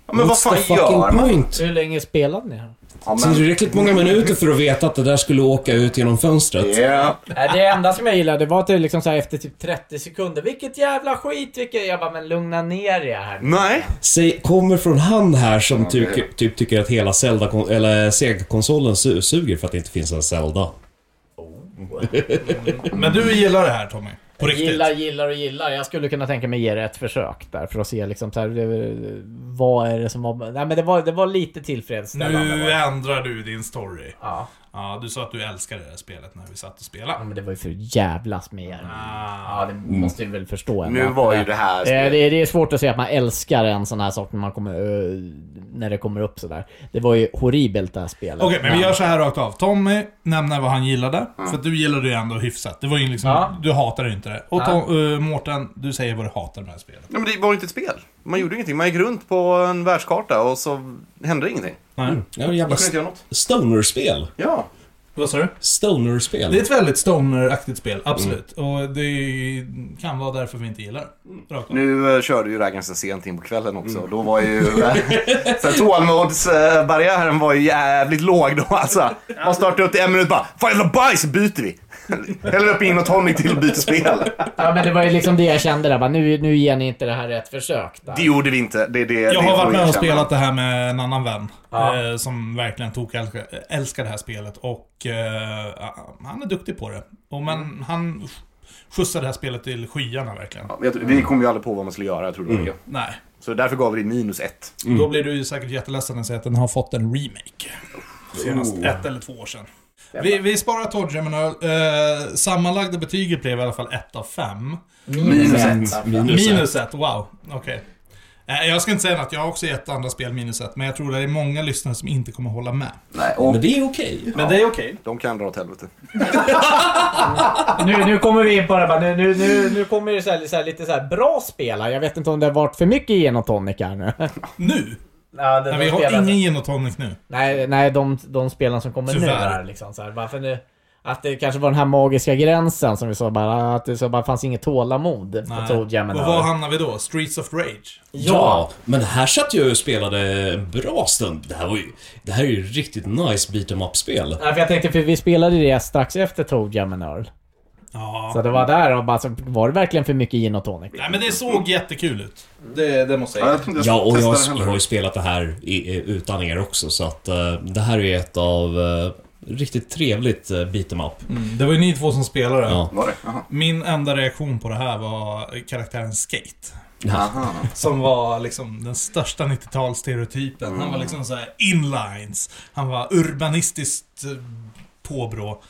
Ja, men vad what's the fan fucking gör man? point? Hur länge spelade ni? här? Ja, Sen är det räckligt många minuter för att veta att det där skulle åka ut genom fönstret. Ja. Nej, Det enda som jag gillade var att det liksom så här efter typ 30 sekunder. Vilket jävla skit! Vilket... Jag bara, men lugna ner er här. Nej. Säg, kommer från han här som tycker- typ tycker att hela Zelda, eller Sega-konsolen su- suger för att det inte finns en Zelda. Men du gillar det här Tommy? På riktigt? Gillar, gillar och gillar. Jag skulle kunna tänka mig ge det ett försök där för att se liksom så här, det- vad är det som var... Nej men det var, det var lite tillfredsställande. var Nu det. ändrar du din story. Ja. Ja, du sa att du älskade det här spelet när vi satt och ja, spelade. men det var ju för jävlas med er. Ah, Ja, det måste vi väl förstå. ändå. Nu var ju det här Det, spelet. det, det är svårt att säga att man älskar en sån här sak när, man kommer, eh, när det kommer upp sådär. Det var ju horribelt det här spelet. Okej, men vi gör så här rakt av. Tommy nämner vad han gillade, för att du gillade det ändå hyfsat. Det var ju liksom, Ja. du hatade inte det. Och Tom, eh, Mårten, du säger vad du hatar med det här spelet. Ja, men det var ju inte ett spel. Man gjorde ingenting. Man gick runt på en världskarta och så hände ingenting. Nej. Ja, det jävla Man kunde inte göra något. stoner-spel. Ja. Vad sa du? Det är Stoner-spel. ett väldigt stoner-aktigt spel, Mm. absolut. Och det är- kan vara därför vi inte gillar det. Rakt av. Nu eh, körde ju det här ganska sent in på kvällen också. Mm. Då var ju... eh, så här, tålamodsbarriären var ju jävligt låg då alltså. Man startade upp till en minut bara Fan jävla bajs, byter vi. Häller upp in och tonic till och byter spel. Ja, men det var ju liksom det jag kände där. Bara, nu, nu ger ni inte det här ett försök. Där. Det gjorde vi inte. Det, det, det Jag har får varit vi med och erkänna. spelat det här med en annan vän. Eh, som verkligen tog älskar det här spelet och eh, han är duktig på det. Och men han skjutsade det här spelet till skyarna verkligen. Ja, jag tror- Vi kom ju aldrig på vad man skulle göra, jag tror det Mm. var det. Nej. Så därför gav vi det minus ett. Då blir du ju säkert jätteledsen när jag säger att den har fått en remake. Senast ett eller två år sedan. Vi, vi sparar Todd Gemini. Eh, sammanlagda betyget blev i alla fall ett av fem. Minus ett. Minus ett. Minus ett, wow. Okej. Eh, jag ska inte säga att jag har också gett andra spel minus ett, men jag tror det är många lyssnare som inte kommer hålla med. Nej, och Men det är okej. Men det är okej. de kan dra åt helvete. Nu, nu kommer vi in på det bara. Nu, nu, nu, nu kommer det så här, så här, lite så här bra spel här. Jag vet inte om det har varit för mycket gin och tonic här nu. Nu? Ja, det, Nej, de vi har spelen- ingen gin och tonic nu. Nej, nej de, de spelen som kommer nu Tyvärr. här liksom. Så här, varför nu, att det kanske var den här magiska gränsen som vi sa bara. Att det så bara fanns inget tålamod på Nej. Toad Jam Och var hamnar vi då? Mm. Streets of Rage? Ja, men här satt jag och spelade en bra stund. Det här, var ju, det här är ju riktigt nice beat em up-spel. Nej, för jag tänkte, för vi spelade det strax efter Toad Jam and Earl. Ja. Så det var där och bara, så var det verkligen för mycket gin och tonic? Nej men det såg jättekul ut. Det, det måste jag säga. Ja, och jag har- har ju spelat det här i, eh, utan er också, så att eh, det här är ett av eh, riktigt trevligt eh, beat em up. Mm, det var ju ni två som spelade. Ja. Var det? Jaha. Min enda reaktion på det här var karaktären Skate. Aha. Som var liksom den största 90-talsstereotypen. Han var liksom så här inlines. Han var urbanistiskt eh, påbrå.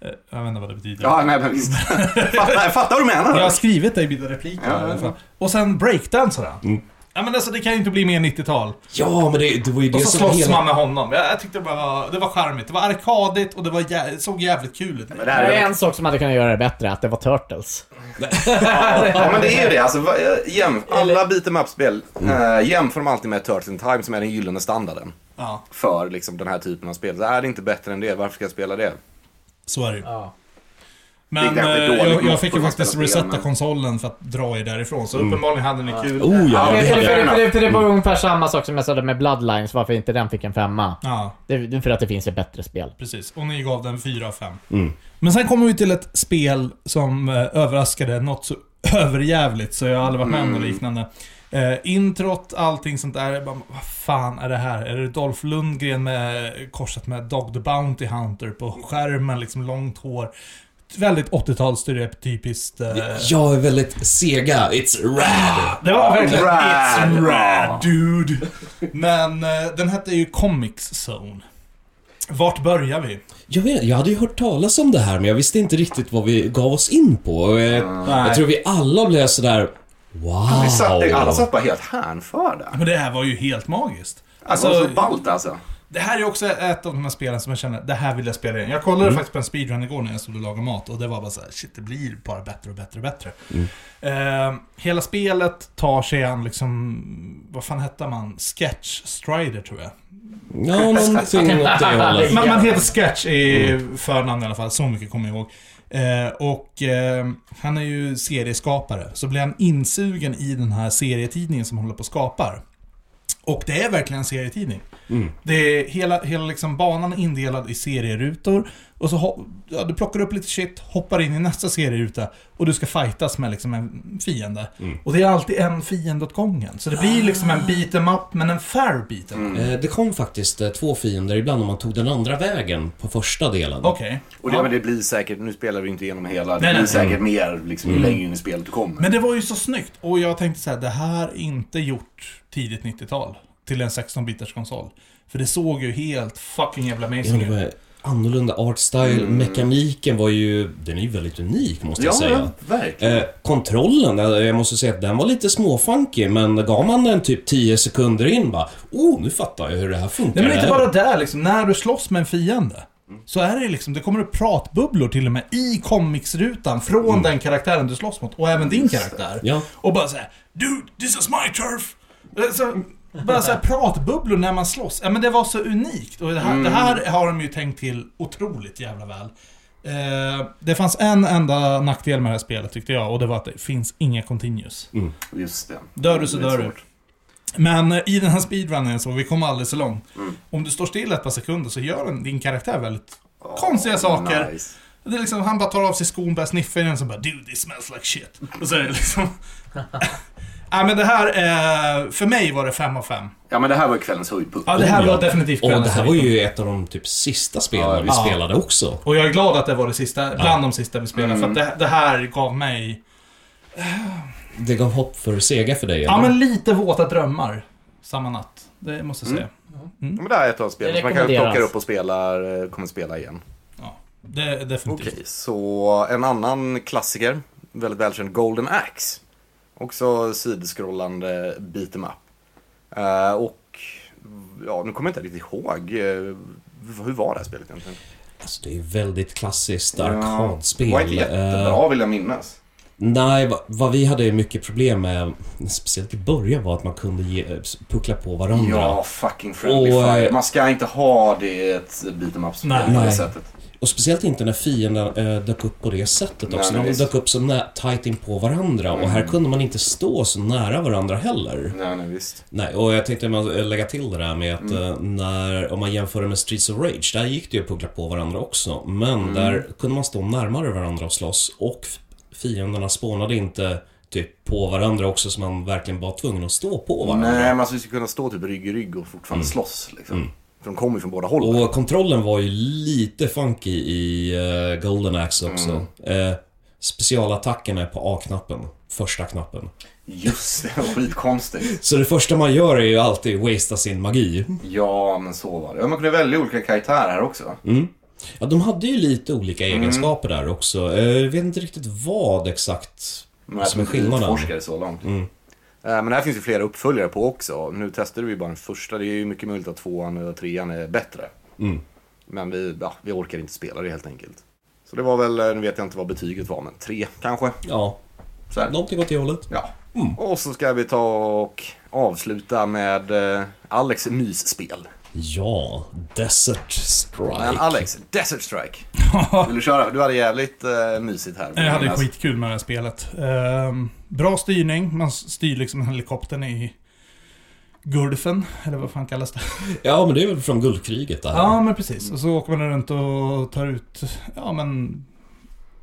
Eh, Jag vet inte vad det betyder. Ja, nej men visst. Fattar, jag fattar vad du menar. Jag har skrivit det i mina repliker i Ja, alla ja, Mm. fall. Och sen breakdansade han. Ja men alltså det kan ju inte bli mer 90-tal. Ja, men det, det var ju det Och som så slåss man hela... med honom. Jag, jag tyckte det var, det var charmigt. Det var arkadigt och det var jä såg jävligt kul ut. Men det, Det här är är, en sak som hade kunnat göra det bättre, att det var Turtles. ja, men det är ju det. Alltså, va- jäm, alla beat'em up-spel, eh, jämför dem alltid med Turtles in Time som är den gyllene standarden. Ja, För liksom, den här typen av spel. Så är det inte bättre än det, varför ska jag spela det? så är det ju. Ja. Men Det är kanske eh, dåligt jag, mått jag fick på Mm. ju att faktiskt spela resetta men- konsolen för att dra er därifrån. Så uppenbarligen hade ni kul. Oh ja, Det, Mm. det det, hade jag. det, det, det, det var ungefär samma sak som jag sa där med Bloodlines, varför inte den fick en femma. Ja, Det, det är för att det finns ett bättre spel. precis. Och ni gav den 4 av 5. Men sen kommer vi till ett spel som eh, överraskade något så överjävligt så jag har aldrig varit med om något liknande. Eh, introt, allting sånt där. jag Bara, vad fan är det här? Är det Dolph Lundgren med eh, korset med Dog the Bounty Hunter på skärmen? Liksom långt hår. Väldigt 80-talsstereotypiskt. Eh, Jag är väldigt sega. It's rad. Det var verkligen Rad. It's rad dude. Men eh, den hette ju Comics Zone. Vart börjar vi? Jag, vet, jag hade ju hört talas om det här, men jag visste inte riktigt vad vi gav oss in på. Och, eh, Jag tror vi alla blev sådär... Wow! Vi satt, alla satt bara helt hänförda. Men det här var ju helt magiskt. Alltså, det var så ballt alltså. Det här är också ett av de här spelen som jag känner, det här vill jag spela igen. Jag kollade faktiskt på en speedrun igår när jag stod och lagade mat och det var bara så här, shit det blir bara bättre och bättre och bättre. Eh, hela spelet tar sig an liksom, vad fan hette man? Sketch Strider tror jag. Ja, någonting åt det hållet. Man, man heter Sketch i förnamn i alla fall, så mycket kommer jag ihåg. Eh, och eh, han är ju serieskapare, så blir han insugen i den här serietidningen som han håller på och skapar. Och det är verkligen en serietidning. Det är hela, hela liksom banan är indelad i serierutor. Och så ho- ja, du plockar upp lite shit, hoppar in i nästa serieruta och du ska fightas med liksom en fiende. Och det är alltid en fiende åt gången. Så det blir liksom en beat em up, men en fair beat em up. Eh, Det kom faktiskt eh, två fiender ibland om man tog den andra vägen på första delen. Okej. Och det, men det blir säkert, nu spelar vi inte igenom hela, det Nej, Mm. blir nej. säkert mer liksom, ju längre in i spelet du kommer. Men det var ju så snyggt. Och jag tänkte så här, det här är inte gjort tidigt 90-tal. Till en 16-bitars konsol. För det såg ju helt fucking jävla Ja, amazing det ut. var annorlunda art style. Mekaniken var ju... Den är ju väldigt unik, måste jag ja, säga. verkligen. Eh, kontrollen, eh, jag måste säga att den var lite småfunky, men gav man den typ 10 sekunder in bara Oh, nu fattar jag hur det här funkar. Nej men inte Det här- bara där liksom, när du slåss med en fiende. Så är det liksom, det kommer upp pratbubblor till och med i comicsrutan från den karaktären du slåss mot. Och även din karaktär. Ja. Och bara såhär Dude, this is my turf! Eh, Så, bara såhär pratbubblor när man slåss. Ja men det var så unikt. Och det här, det här har de ju tänkt till otroligt jävla väl. Eh, det fanns en enda nackdel med det här spelet tyckte jag och det var att det finns inga continues. Just det. Dör du så Det är dör du. svårt. Men eh, i den här speedrunnen så, vi kom alldeles så långt. Om du står still ett par sekunder så gör den, din karaktär väldigt konstiga saker. Nice. Det är liksom, han bara tar av sig skon, börjar sniffa i den så bara Dude, this smells like shit. Och så är det liksom... Nej men det här, eh, för mig var det 5 av 5. Ja men det här var kvällens höjdpunkt. Ja, det här Oh, var ja. definitivt Och det här var höjdpunkt. ju ett av de typ sista spelen Ja, vi ja. spelade också. Och jag är glad att det var det sista, bland de sista vi spelade. För Mm. att det, det här gav mig... Det gav hopp för Sega för dig, Ja eller? men lite våta drömmar. Samma natt. Det måste jag Mm. säga. Ja, men det här är ett av spelen Det som man kanske rekommenderas. plockar upp och spelar, eh, kommer spela igen. Det är definitivt. Okej, så en annan klassiker, väldigt välkänd, Golden Axe. Också sidskrollande beat em up. Eh, och, ja, nu kommer jag inte riktigt ihåg. eh, hur var det här spelet egentligen? Alltså, det är ju väldigt klassiskt Ja, arkadspel. Det var inte Eh, jättebra vill jag minnas. Nej, va- vad vi hade mycket problem med, speciellt i början, var att man kunde ge, eh, puckla på varandra. Ja, fucking friendly Och, eh, fire. Man ska inte ha det i ett beat em up spel Nej. på det Nej. sättet. Och speciellt inte när fienden eh, dök upp på det sättet Nej, också. men de visst. Mm. dök upp så nä- tight in på varandra och här kunde man inte stå så nära varandra heller. Nej, nej, visst. Nej, och jag tänkte man- eh, lägga till det där med att Mm. eh, när, om man jämför det med Streets of Rage, där gick det ju att puckla på varandra också. Men Mm. där kunde man stå närmare varandra och slåss och f- fienderna spånade inte typ på varandra också så man verkligen var tvungen att stå på varandra. Nej, men alltså, vi ska kunna stå typ rygg i rygg och fortfarande slåss. Liksom. För de kommer ju från båda hållen. Och kontrollen var ju lite funky i eh, Golden Axe också. Eh, specialattacken är på A-knappen. Första knappen. Just det, skitkonstigt. Så det första man gör är ju alltid wastea sin magi. Ja, men så var det. Ja, man kunde välja olika karaktärer här också. Ja, de hade ju lite olika egenskaper där också. Eh, Jag vet inte riktigt vad exakt Men som är att vi skillnaden. utforskade typ så långt. Eh, Men det här finns ju flera uppföljare på också. Nu testade vi bara den första. Det är ju mycket möjligt att tvåan och trean är bättre. Men vi, ja, vi orkar inte spela det helt enkelt. Så det var väl, eh, nu vet jag inte vad betyget var, men tre kanske. Ja, Så här. någonting åt det hållet. Ja. Och så ska vi ta och avsluta med eh, Alex mysspel. Ja, Desert Strike. Men Alex, Desert Strike. Vill du köra? Du hade jävligt eh, mysigt här. Jag hade Minnas. skitkul med det här spelet. Ehm, bra styrning, man styr liksom helikoptern i Gulfen, eller vad fan kallas det? Ja, men det är väl från Guldkriget det här. Ja, men precis. Och så åker man runt och tar ut, ja men,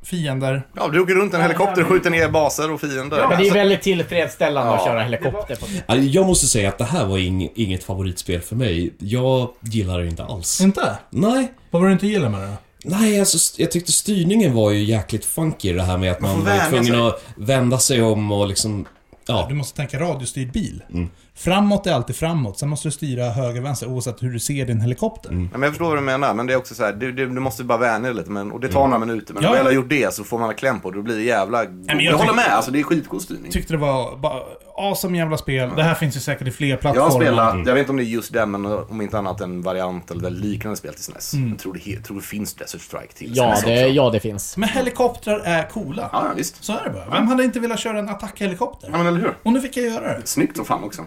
fiender. Ja, du åker runt en helikopter och skjuter ner baser och fiender. Men det är väldigt tillfredsställande att köra helikopter på Ja, Jag måste säga att det här var ing- inget favoritspel för mig. Jag gillar det inte alls. Inte? Nej, Vad var det du inte gillade med det då? Nej, alltså, st- jag tyckte styrningen var ju jäkligt funky det här med att man, får var ju vänja tvungen sig. att vända sig om och liksom... Ja, Du måste tänka radiostyrd bil. Framåt är alltid framåt, sen måste du styra höger, vänster oavsett hur du ser din helikopter. Nej, men jag förstår vad du menar, men det är också så här, du, du, du måste bara vänja dig lite. Men, och det tar några minuter, men Mm. Ja. när du väl har gjort det så får man en kläm på det. Då blir det jävla... jag jag håller tycker- med, alltså det är skitcool styrning. Tyckte det var bara awesome jävla spel. Det här finns ju säkert i fler plattformar. Jag har spelat, jag vet inte om det är just det, men eh, om inte annat en variant eller liknande spel till SNES. Mm. Jag tror det, he- tror det finns Desert Strike till Ja, SNES det, också. ja, det finns. Men helikoptrar är coola. Ja, ja, visst. Så är det bara. Vem hade inte velat köra en attackhelikopter? Ja, men eller hur? Och nu fick jag göra det. Snyggt som fan också.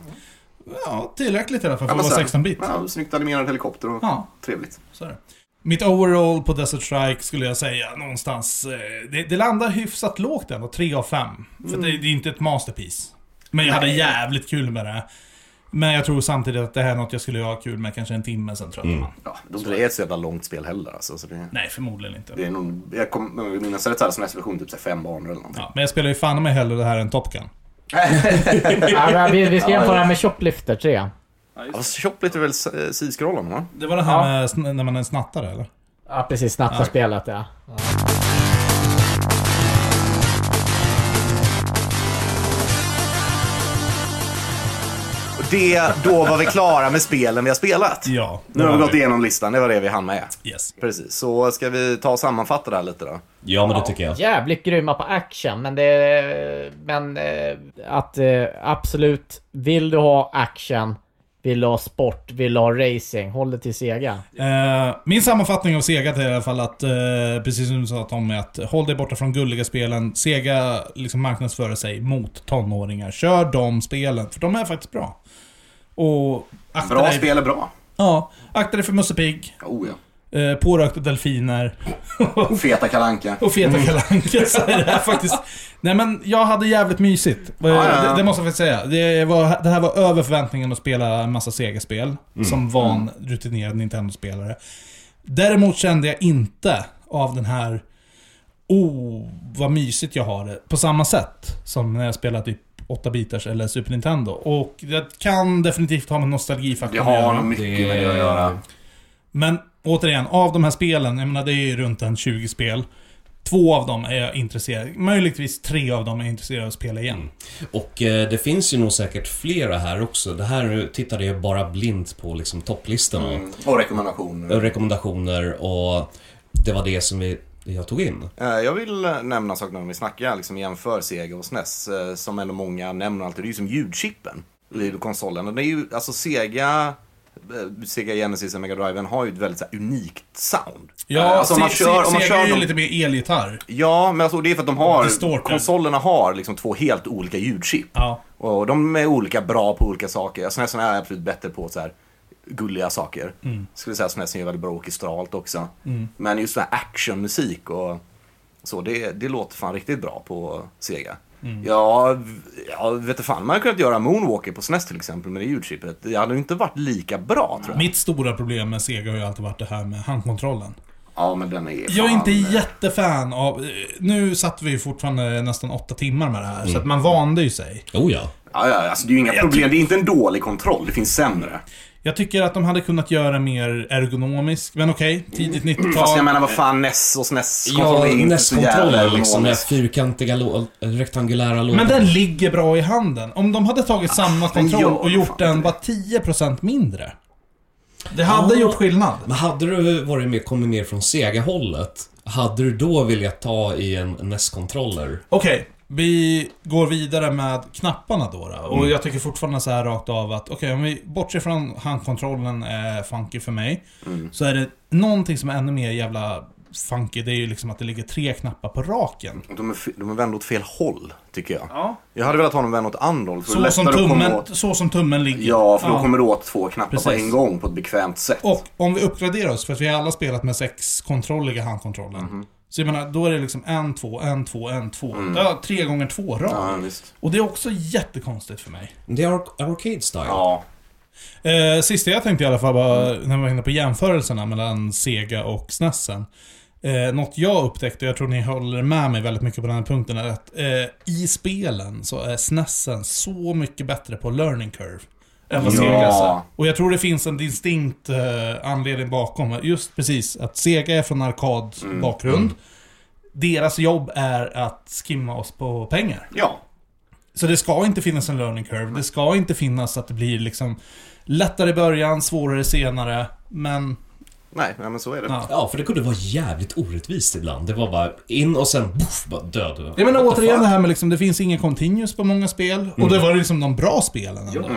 Ja, tillräckligt i alla fall för Ja, att men vara så här- 16-bit. Ja, snyggt animerad helikopter och Ja. trevligt. Så är det. Mitt overall på Desert Strike skulle jag säga någonstans... eh, Det, det landar hyfsat lågt Mm. ändå, 3 av 5. För det, det är inte ett masterpiece. Men jag hade jävligt kul med det. Men jag tror samtidigt att det här är något jag skulle ha kul med kanske en timme sen tröttnar man. Ja, de tror det är ett så jävla långt spel heller alltså. Så det, Nej, förmodligen inte. det är nog, jag kommer om jag minns rätt så här som nästa version typ så här fem banor eller någonting. Ja, men jag spelar ju fan med hellre det här än Top Gun. Ja, men vi, vi ska jämföra med Shoplifter 3. Ja, Shoplifter är väl eh, sidskrollande va? Det var det här med sn- när man är en snattare eller? Ja, precis. Snattarspelet, ja. Och det, då var vi klara med spelen vi har spelat. Ja. det Nu har var vi gått det. igenom listan, det var det vi hann med. Yes. Precis, så ska vi ta och sammanfatta det här lite då? Ja, men det tycker jag. Jävligt grymma på action, men det... Men eh, att eh, absolut, vill du ha action, vill du ha sport, vill du ha racing, håll dig till Sega. Eh, min sammanfattning av Sega är i alla fall att, eh, precis som du sa Tommy, att håll dig borta från gulliga spelen. Sega liksom marknadsför sig mot tonåringar. Kör de spelen, för de är faktiskt bra. Och akta Bra dig, spel är bra. Ja, akta dig för Musse Pigg, Oh ja. eh, pårökta delfiner Feta kalanka. och feta Kalle Anka. Så är det här faktiskt... Nej men, jag hade jävligt mysigt. Eh, ja, ja. Det, det måste jag faktiskt säga. Det, var, det här var över förväntningen att spela en massa Sega-spel. Mm. Som van, rutinerad Nintendo-spelare. Däremot kände jag inte av den här... Oh, vad mysigt jag har det. På samma sätt som när jag spelade typ 8-bitars eller Super Nintendo. Och det kan definitivt ha med Det nostalgifaktorn att har göra. nog mycket med det att göra. Men återigen, av de här spelen, jag menar det är ju runt en 20 spel. Två av dem är jag intresserad, möjligtvis tre av dem är jag intresserad av att spela igen. Och eh, det finns ju nog säkert flera här också. Det här tittade jag bara blint på liksom topplistorna. Och rekommendationer. Och rekommendationer och det var det som vi, jag tog in. Eh, Jag vill eh, nämna en sak när vi snackar liksom, jämför Sega och SNES, eh, som ändå många nämner alltid. Det är ju som ljudchippen i Mm. konsolen. Och Det är ju, alltså Sega, eh, Sega Genesis och Mega Driven har ju ett väldigt så här, unikt sound. Ja, Eh, alltså, om man Se- Se- kör, om man Sega är kör ju dem, lite mer elgitarr. Ja, men alltså, det är för att de har, Distorted. konsolerna har liksom två helt olika ljudchip. Ja. Och de är olika bra på olika saker. SNESen är absolut bättre på så här gulliga saker. Mm. Skulle säga att SNESen är väldigt bra orkestralt också. Men just den här actionmusik och så, det, det låter fan riktigt bra på Sega. Mm. Ja, jag vet inte fan, man hade kunnat göra Moonwalker på SNES till exempel med det ljudchippet. Det hade ju inte varit lika bra tror jag. Mitt stora problem med Sega har ju alltid varit det här med handkontrollen. Ja, men den är Jag är fan- inte jättefan av... eh, Nu satt vi ju fortfarande nästan åtta timmar med det här, så att man vande ju sig. Oh ja. Ja, ja, alltså det är ju inga problem. Det är inte en dålig kontroll, det finns sämre. Jag tycker att de hade kunnat göra mer ergonomisk, men okej, tidigt 90-tal. Mm. Fast jag menar vad fan NES och SNES Ja, kontroll är inte så jävla nästkontrollen liksom, den här ergonomisk. fyrkantiga, lå- rektangulära lådan. Men den ligger bra i handen. Om de hade Ah, tagit samma kontroll gör och gjort fan den det. bara 10% mindre. Det hade Ja. gjort skillnad. Men hade du varit mer, kommit mer från Sega-hållet, hade du då velat ta i en NES-kontroller? Okej, vi går vidare med knapparna då. då. Mm. Och jag tycker fortfarande så här rakt av att, okej om vi bortser från handkontrollen är funky för mig. Mm. Så är det någonting som är ännu mer jävla funky, det är ju liksom att det ligger tre knappar på raken. De är, f- de är vända åt fel håll, tycker jag. Jag hade velat ha dem vända åt andra håll. För det är Så som, lättare att komma tummen, åt, så som tummen ligger. ja, för då kommer du åt två knappar på Precis. en gång på ett bekvämt sätt. Och om vi uppgraderar oss, för att vi har alla spelat med sex kontrolliga handkontrollen. Så jag menar, då är det liksom en, två, en, två, en, två. Ja, tre gånger två rad. Ja, visst. Och det är också jättekonstigt för mig. Det är arc- arcade-style. Ja. Eh, sista jag tänkte i alla fall var, när vi var inne på jämförelserna mellan Sega och SNESen. Eh, något jag upptäckte, och jag tror ni håller med mig väldigt mycket på den här punkten, är att eh, i spelen så är SNESen så mycket bättre på learning curve. Än vad Ja. Sega är. Och jag tror det finns en distinkt eh, anledning bakom. Just precis, att Sega är från arkadbakgrund. Deras jobb är att skimma oss på pengar. Ja. Så det ska inte finnas en learning curve. Det ska inte finnas att det blir liksom lättare i början, svårare senare. Men Nej, nej, men så är det. Ja. Ja, för det kunde vara jävligt orättvist ibland. Det var bara in och sen boff, bara död. jag menar What the återigen fuck? det här med liksom, det finns ingen continuous på många spel. Och det var liksom de bra spelen ändå.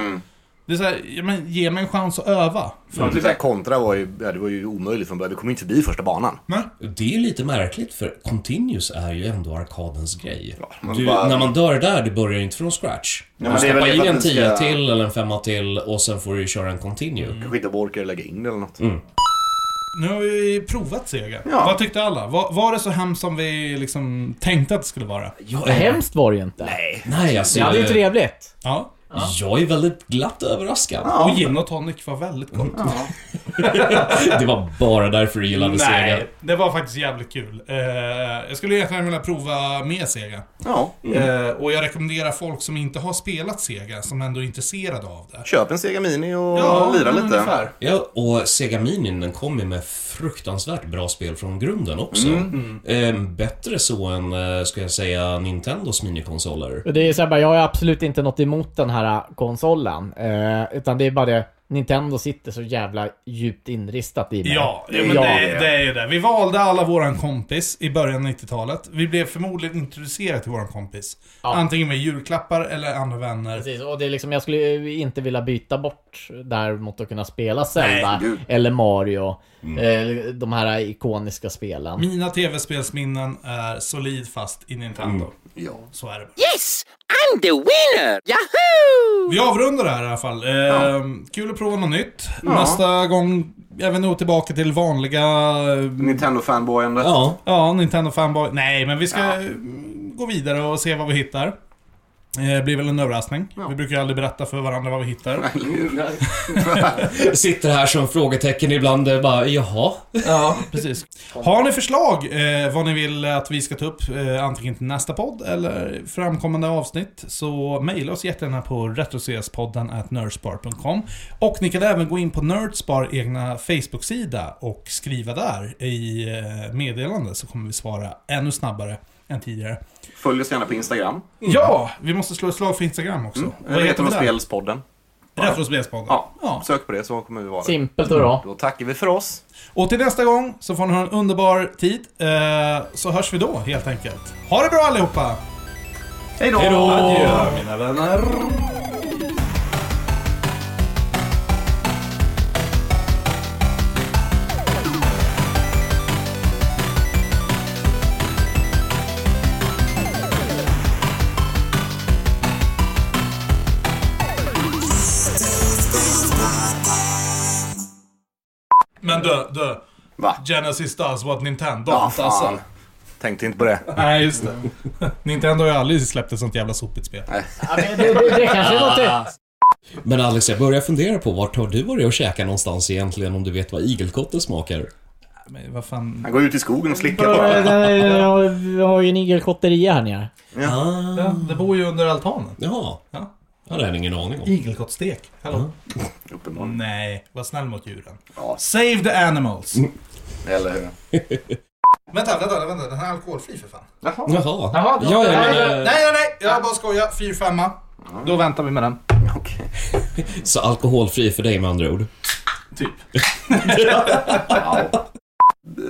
Det är så här, ja, men, ge mig en chans att öva. För att det där kontra var ju, ja, det var ju omöjligt från början. Du kom inte förbi första banan. Mm. Det är lite märkligt för Continuous är ju ändå arkadens grej. men du, bara- När man dör där, du börjar inte från scratch. men du det är väl stoppar in det för en att du tia ska- Mm. till eller en femma till och sen får du ju köra en Continue. Kanske inte orkar lägga in det eller något. Mm. Nu har vi provat Sega. Ja. Vad tyckte alla? Var, var det så hemskt som vi liksom tänkte att det skulle vara? Ja, eh, Hemskt var det ju inte. Nej. Nej, alltså... Det hade ju eh, trevligt. Ja. Jag är väldigt glatt överraskad. Och gin och tonic var väldigt gott. Det var bara därför du gillade Sega. Nej, det var faktiskt jävligt kul. Eh, jag skulle egentligen vilja prova mer Sega. Ja, Mm. Eh, och jag rekommenderar folk som inte har spelat Sega, som ändå är intresserade av det. köp en Sega Mini och lira lite. ungefär. Ja, och Sega Minin den kom ju med fruktansvärt bra spel från grunden också. Eh, bättre så än, eh, ska jag säga, Nintendos minikonsoler. Och Det är så här, bara, jag har absolut inte något emot den här konsolen. Eh, utan det är bara det, Nintendo sitter så jävla djupt inristat i mig. Ja, ja, men Ja. Det, det är ju det. Vi valde alla våran kompis i början av 90-talet. Vi blev förmodligen introducerade till våran kompis. Antingen med julklappar eller andra vänner. Precis, och det är liksom, jag skulle ju inte vilja byta bort där mot att kunna spela Zelda gud. eller Mario. Eh, de här ikoniska spelen. Mina tv-spelsminnen är solid fast i Nintendo. Mm. Ja. Så är det bara. Yes, I'm the winner! Yahoo! Vi avrundar det här i alla fall. Eh, Kul att prova något nytt. Nästa gång är vi nog tillbaka till vanliga... eh, Nintendo-fanboyandet. Ja, Ja, Nintendo Fanboy. Nej, men vi ska eh, gå vidare och se vad vi hittar. Eh, Det blir väl en överraskning. Vi brukar ju aldrig berätta för varandra vad vi hittar. sitter här som frågetecken ibland. eh, Bara, jaha? Ja, precis. Har ni förslag eh, vad ni vill att vi ska ta upp eh, antingen till nästa podd eller framkommande avsnitt så mejla oss jättegärna på retrocespodden at nerdspar.com och ni kan även gå in på Nerdspar egna Facebook-sida och skriva där i eh, meddelande så kommer vi svara ännu snabbare än tidigare. Följ oss gärna på Instagram. Ja, vi måste slå ett slag för Instagram också. Eller heter vi väl där? Spelspodden. Retrospelspodden. Ja. Ja. sök på det så kommer vi vara där. Simpelt och bra. Då tackar vi för oss. Och till nästa gång så får ni ha en underbar tid. Eh, så hörs vi då helt enkelt. Ha det bra allihopa! Hej då! Adjö mina vänner! Men du, du. Va? Genesis does what Nintendo Ja, alltså. does. alltså. fan. Tänkte inte på det. Nej, just det. Nintendo har ju aldrig släppt ett sånt jävla sopigt spel. Ja, men det, det, det kanske är något... Men Alex, jag börjar fundera på vart har du varit och käkat någonstans egentligen om du vet vad igelkotte smakar? Men vad fan... Han går ut i skogen och slickar på Jag, den. jag, jag har ju en igelkotteria här nere. Ja, det bor ju under altanen. Jaha. Ja. Ja, det hade jag ingen aning om. Igelkottstek. Hallå? Uppenbarligen. Nej, var snäll mot djuren. Mm. Ja. Save the animals. Eller hur? Vänta, vänta, vänta. Den här är alkoholfri för fan. Jaha. ja, ja, Nej, men, nej, eh, nej. nej. Jag bara skojar. 4-5. Då väntar vi med den. Okej. Så alkoholfri för dig med andra ord. Typ. Ja.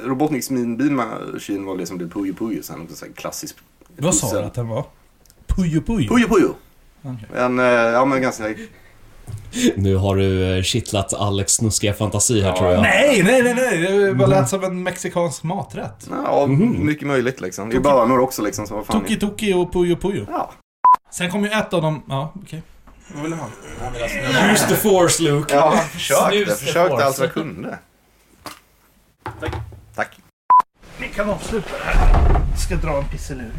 Robotniks minbil med Shin var liksom det som blev Puyo Puyo sen. Också så här klassisk. Vad sa du att den var? Puyo Puyo? Puyo Puyo! En, eh, ja men ganska... Nu har du eh, kittlat Alex snuskiga fantasi här tror jag. Nej, nej, nej, nej. Det bara lät som en mexikansk maträtt. Ja, mycket möjligt liksom. Det är bönor också liksom. Så vad fan Toki Toki och Puyo Puyo. Ja. Sen kom ju ett av dem... Ja, okej. Vad vill du ha? Use the force, Luke. Ja, jag försökte. Snus är Försökte kvar. allt vad jag kunde. Tack. Tack. Ni kan avsluta det här. Jag ska dra en pisselur.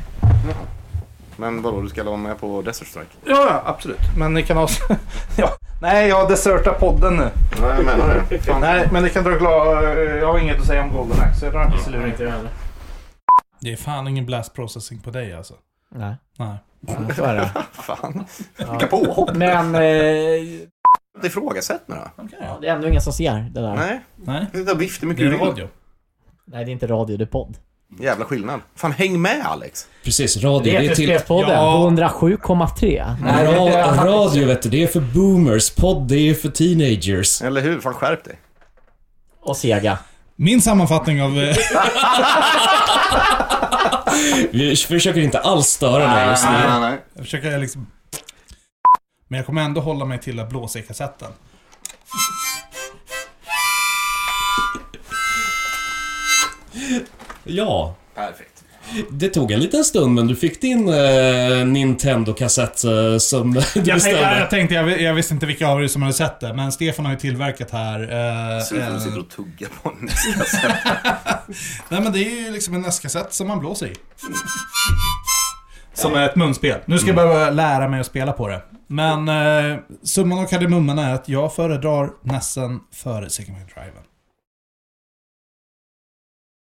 Men vadå, du ska vara med på Desert Strike? Ja, ja, absolut. Men ni kan avsluta... ja. Nej, jag desertar podden nu. Nej, jag menar det. Fan. Nej, men ni kan dra glad... Jag har inget att säga om Golden Axe, så jag drar en pisselur inte jag heller. Det är fan ingen blast processing på dig alltså. Nej, Nej. så är det. Fan. Vilka påhopp. Men eh, Inte Ifrågasätt nu då. det är ändå ingen som ser det där. Nej. Nej. Du kan vifta Det är mycket du vill. radio. Nej, det är inte radio, det är podd. Jävla skillnad. Fan, häng med Alex. Precis, radio. Det är till... Retrospelspodden Ja. på 107,3. Ra- radio, vet du. Det är för boomers. Podd, det är för teenagers. Eller hur? Fan, skärp dig. Och Sega. Min sammanfattning av... eh, Vi försöker inte alls störa dig just nu. nej, nej. jag försöker liksom... Men jag kommer ändå hålla mig till att blåsa i kassetten. Ja. Perfekt. Det tog en liten stund, men du fick din eh, Nintendo-kassett eh, som du Jag tänkte, beställde. jag, tänkte jag, vi- jag visste inte vilka av er som hade sett det, men Stefan har ju tillverkat här... eh, Så du eh, sitter och tuggar på den. Nej men det är ju liksom en nästkassett som man blåser i. Som är ett munspel. Nu ska jag börja lära mig att spela på det. Men eh, summan av kardemumman är att jag föredrar Nessen före Sigma Driven.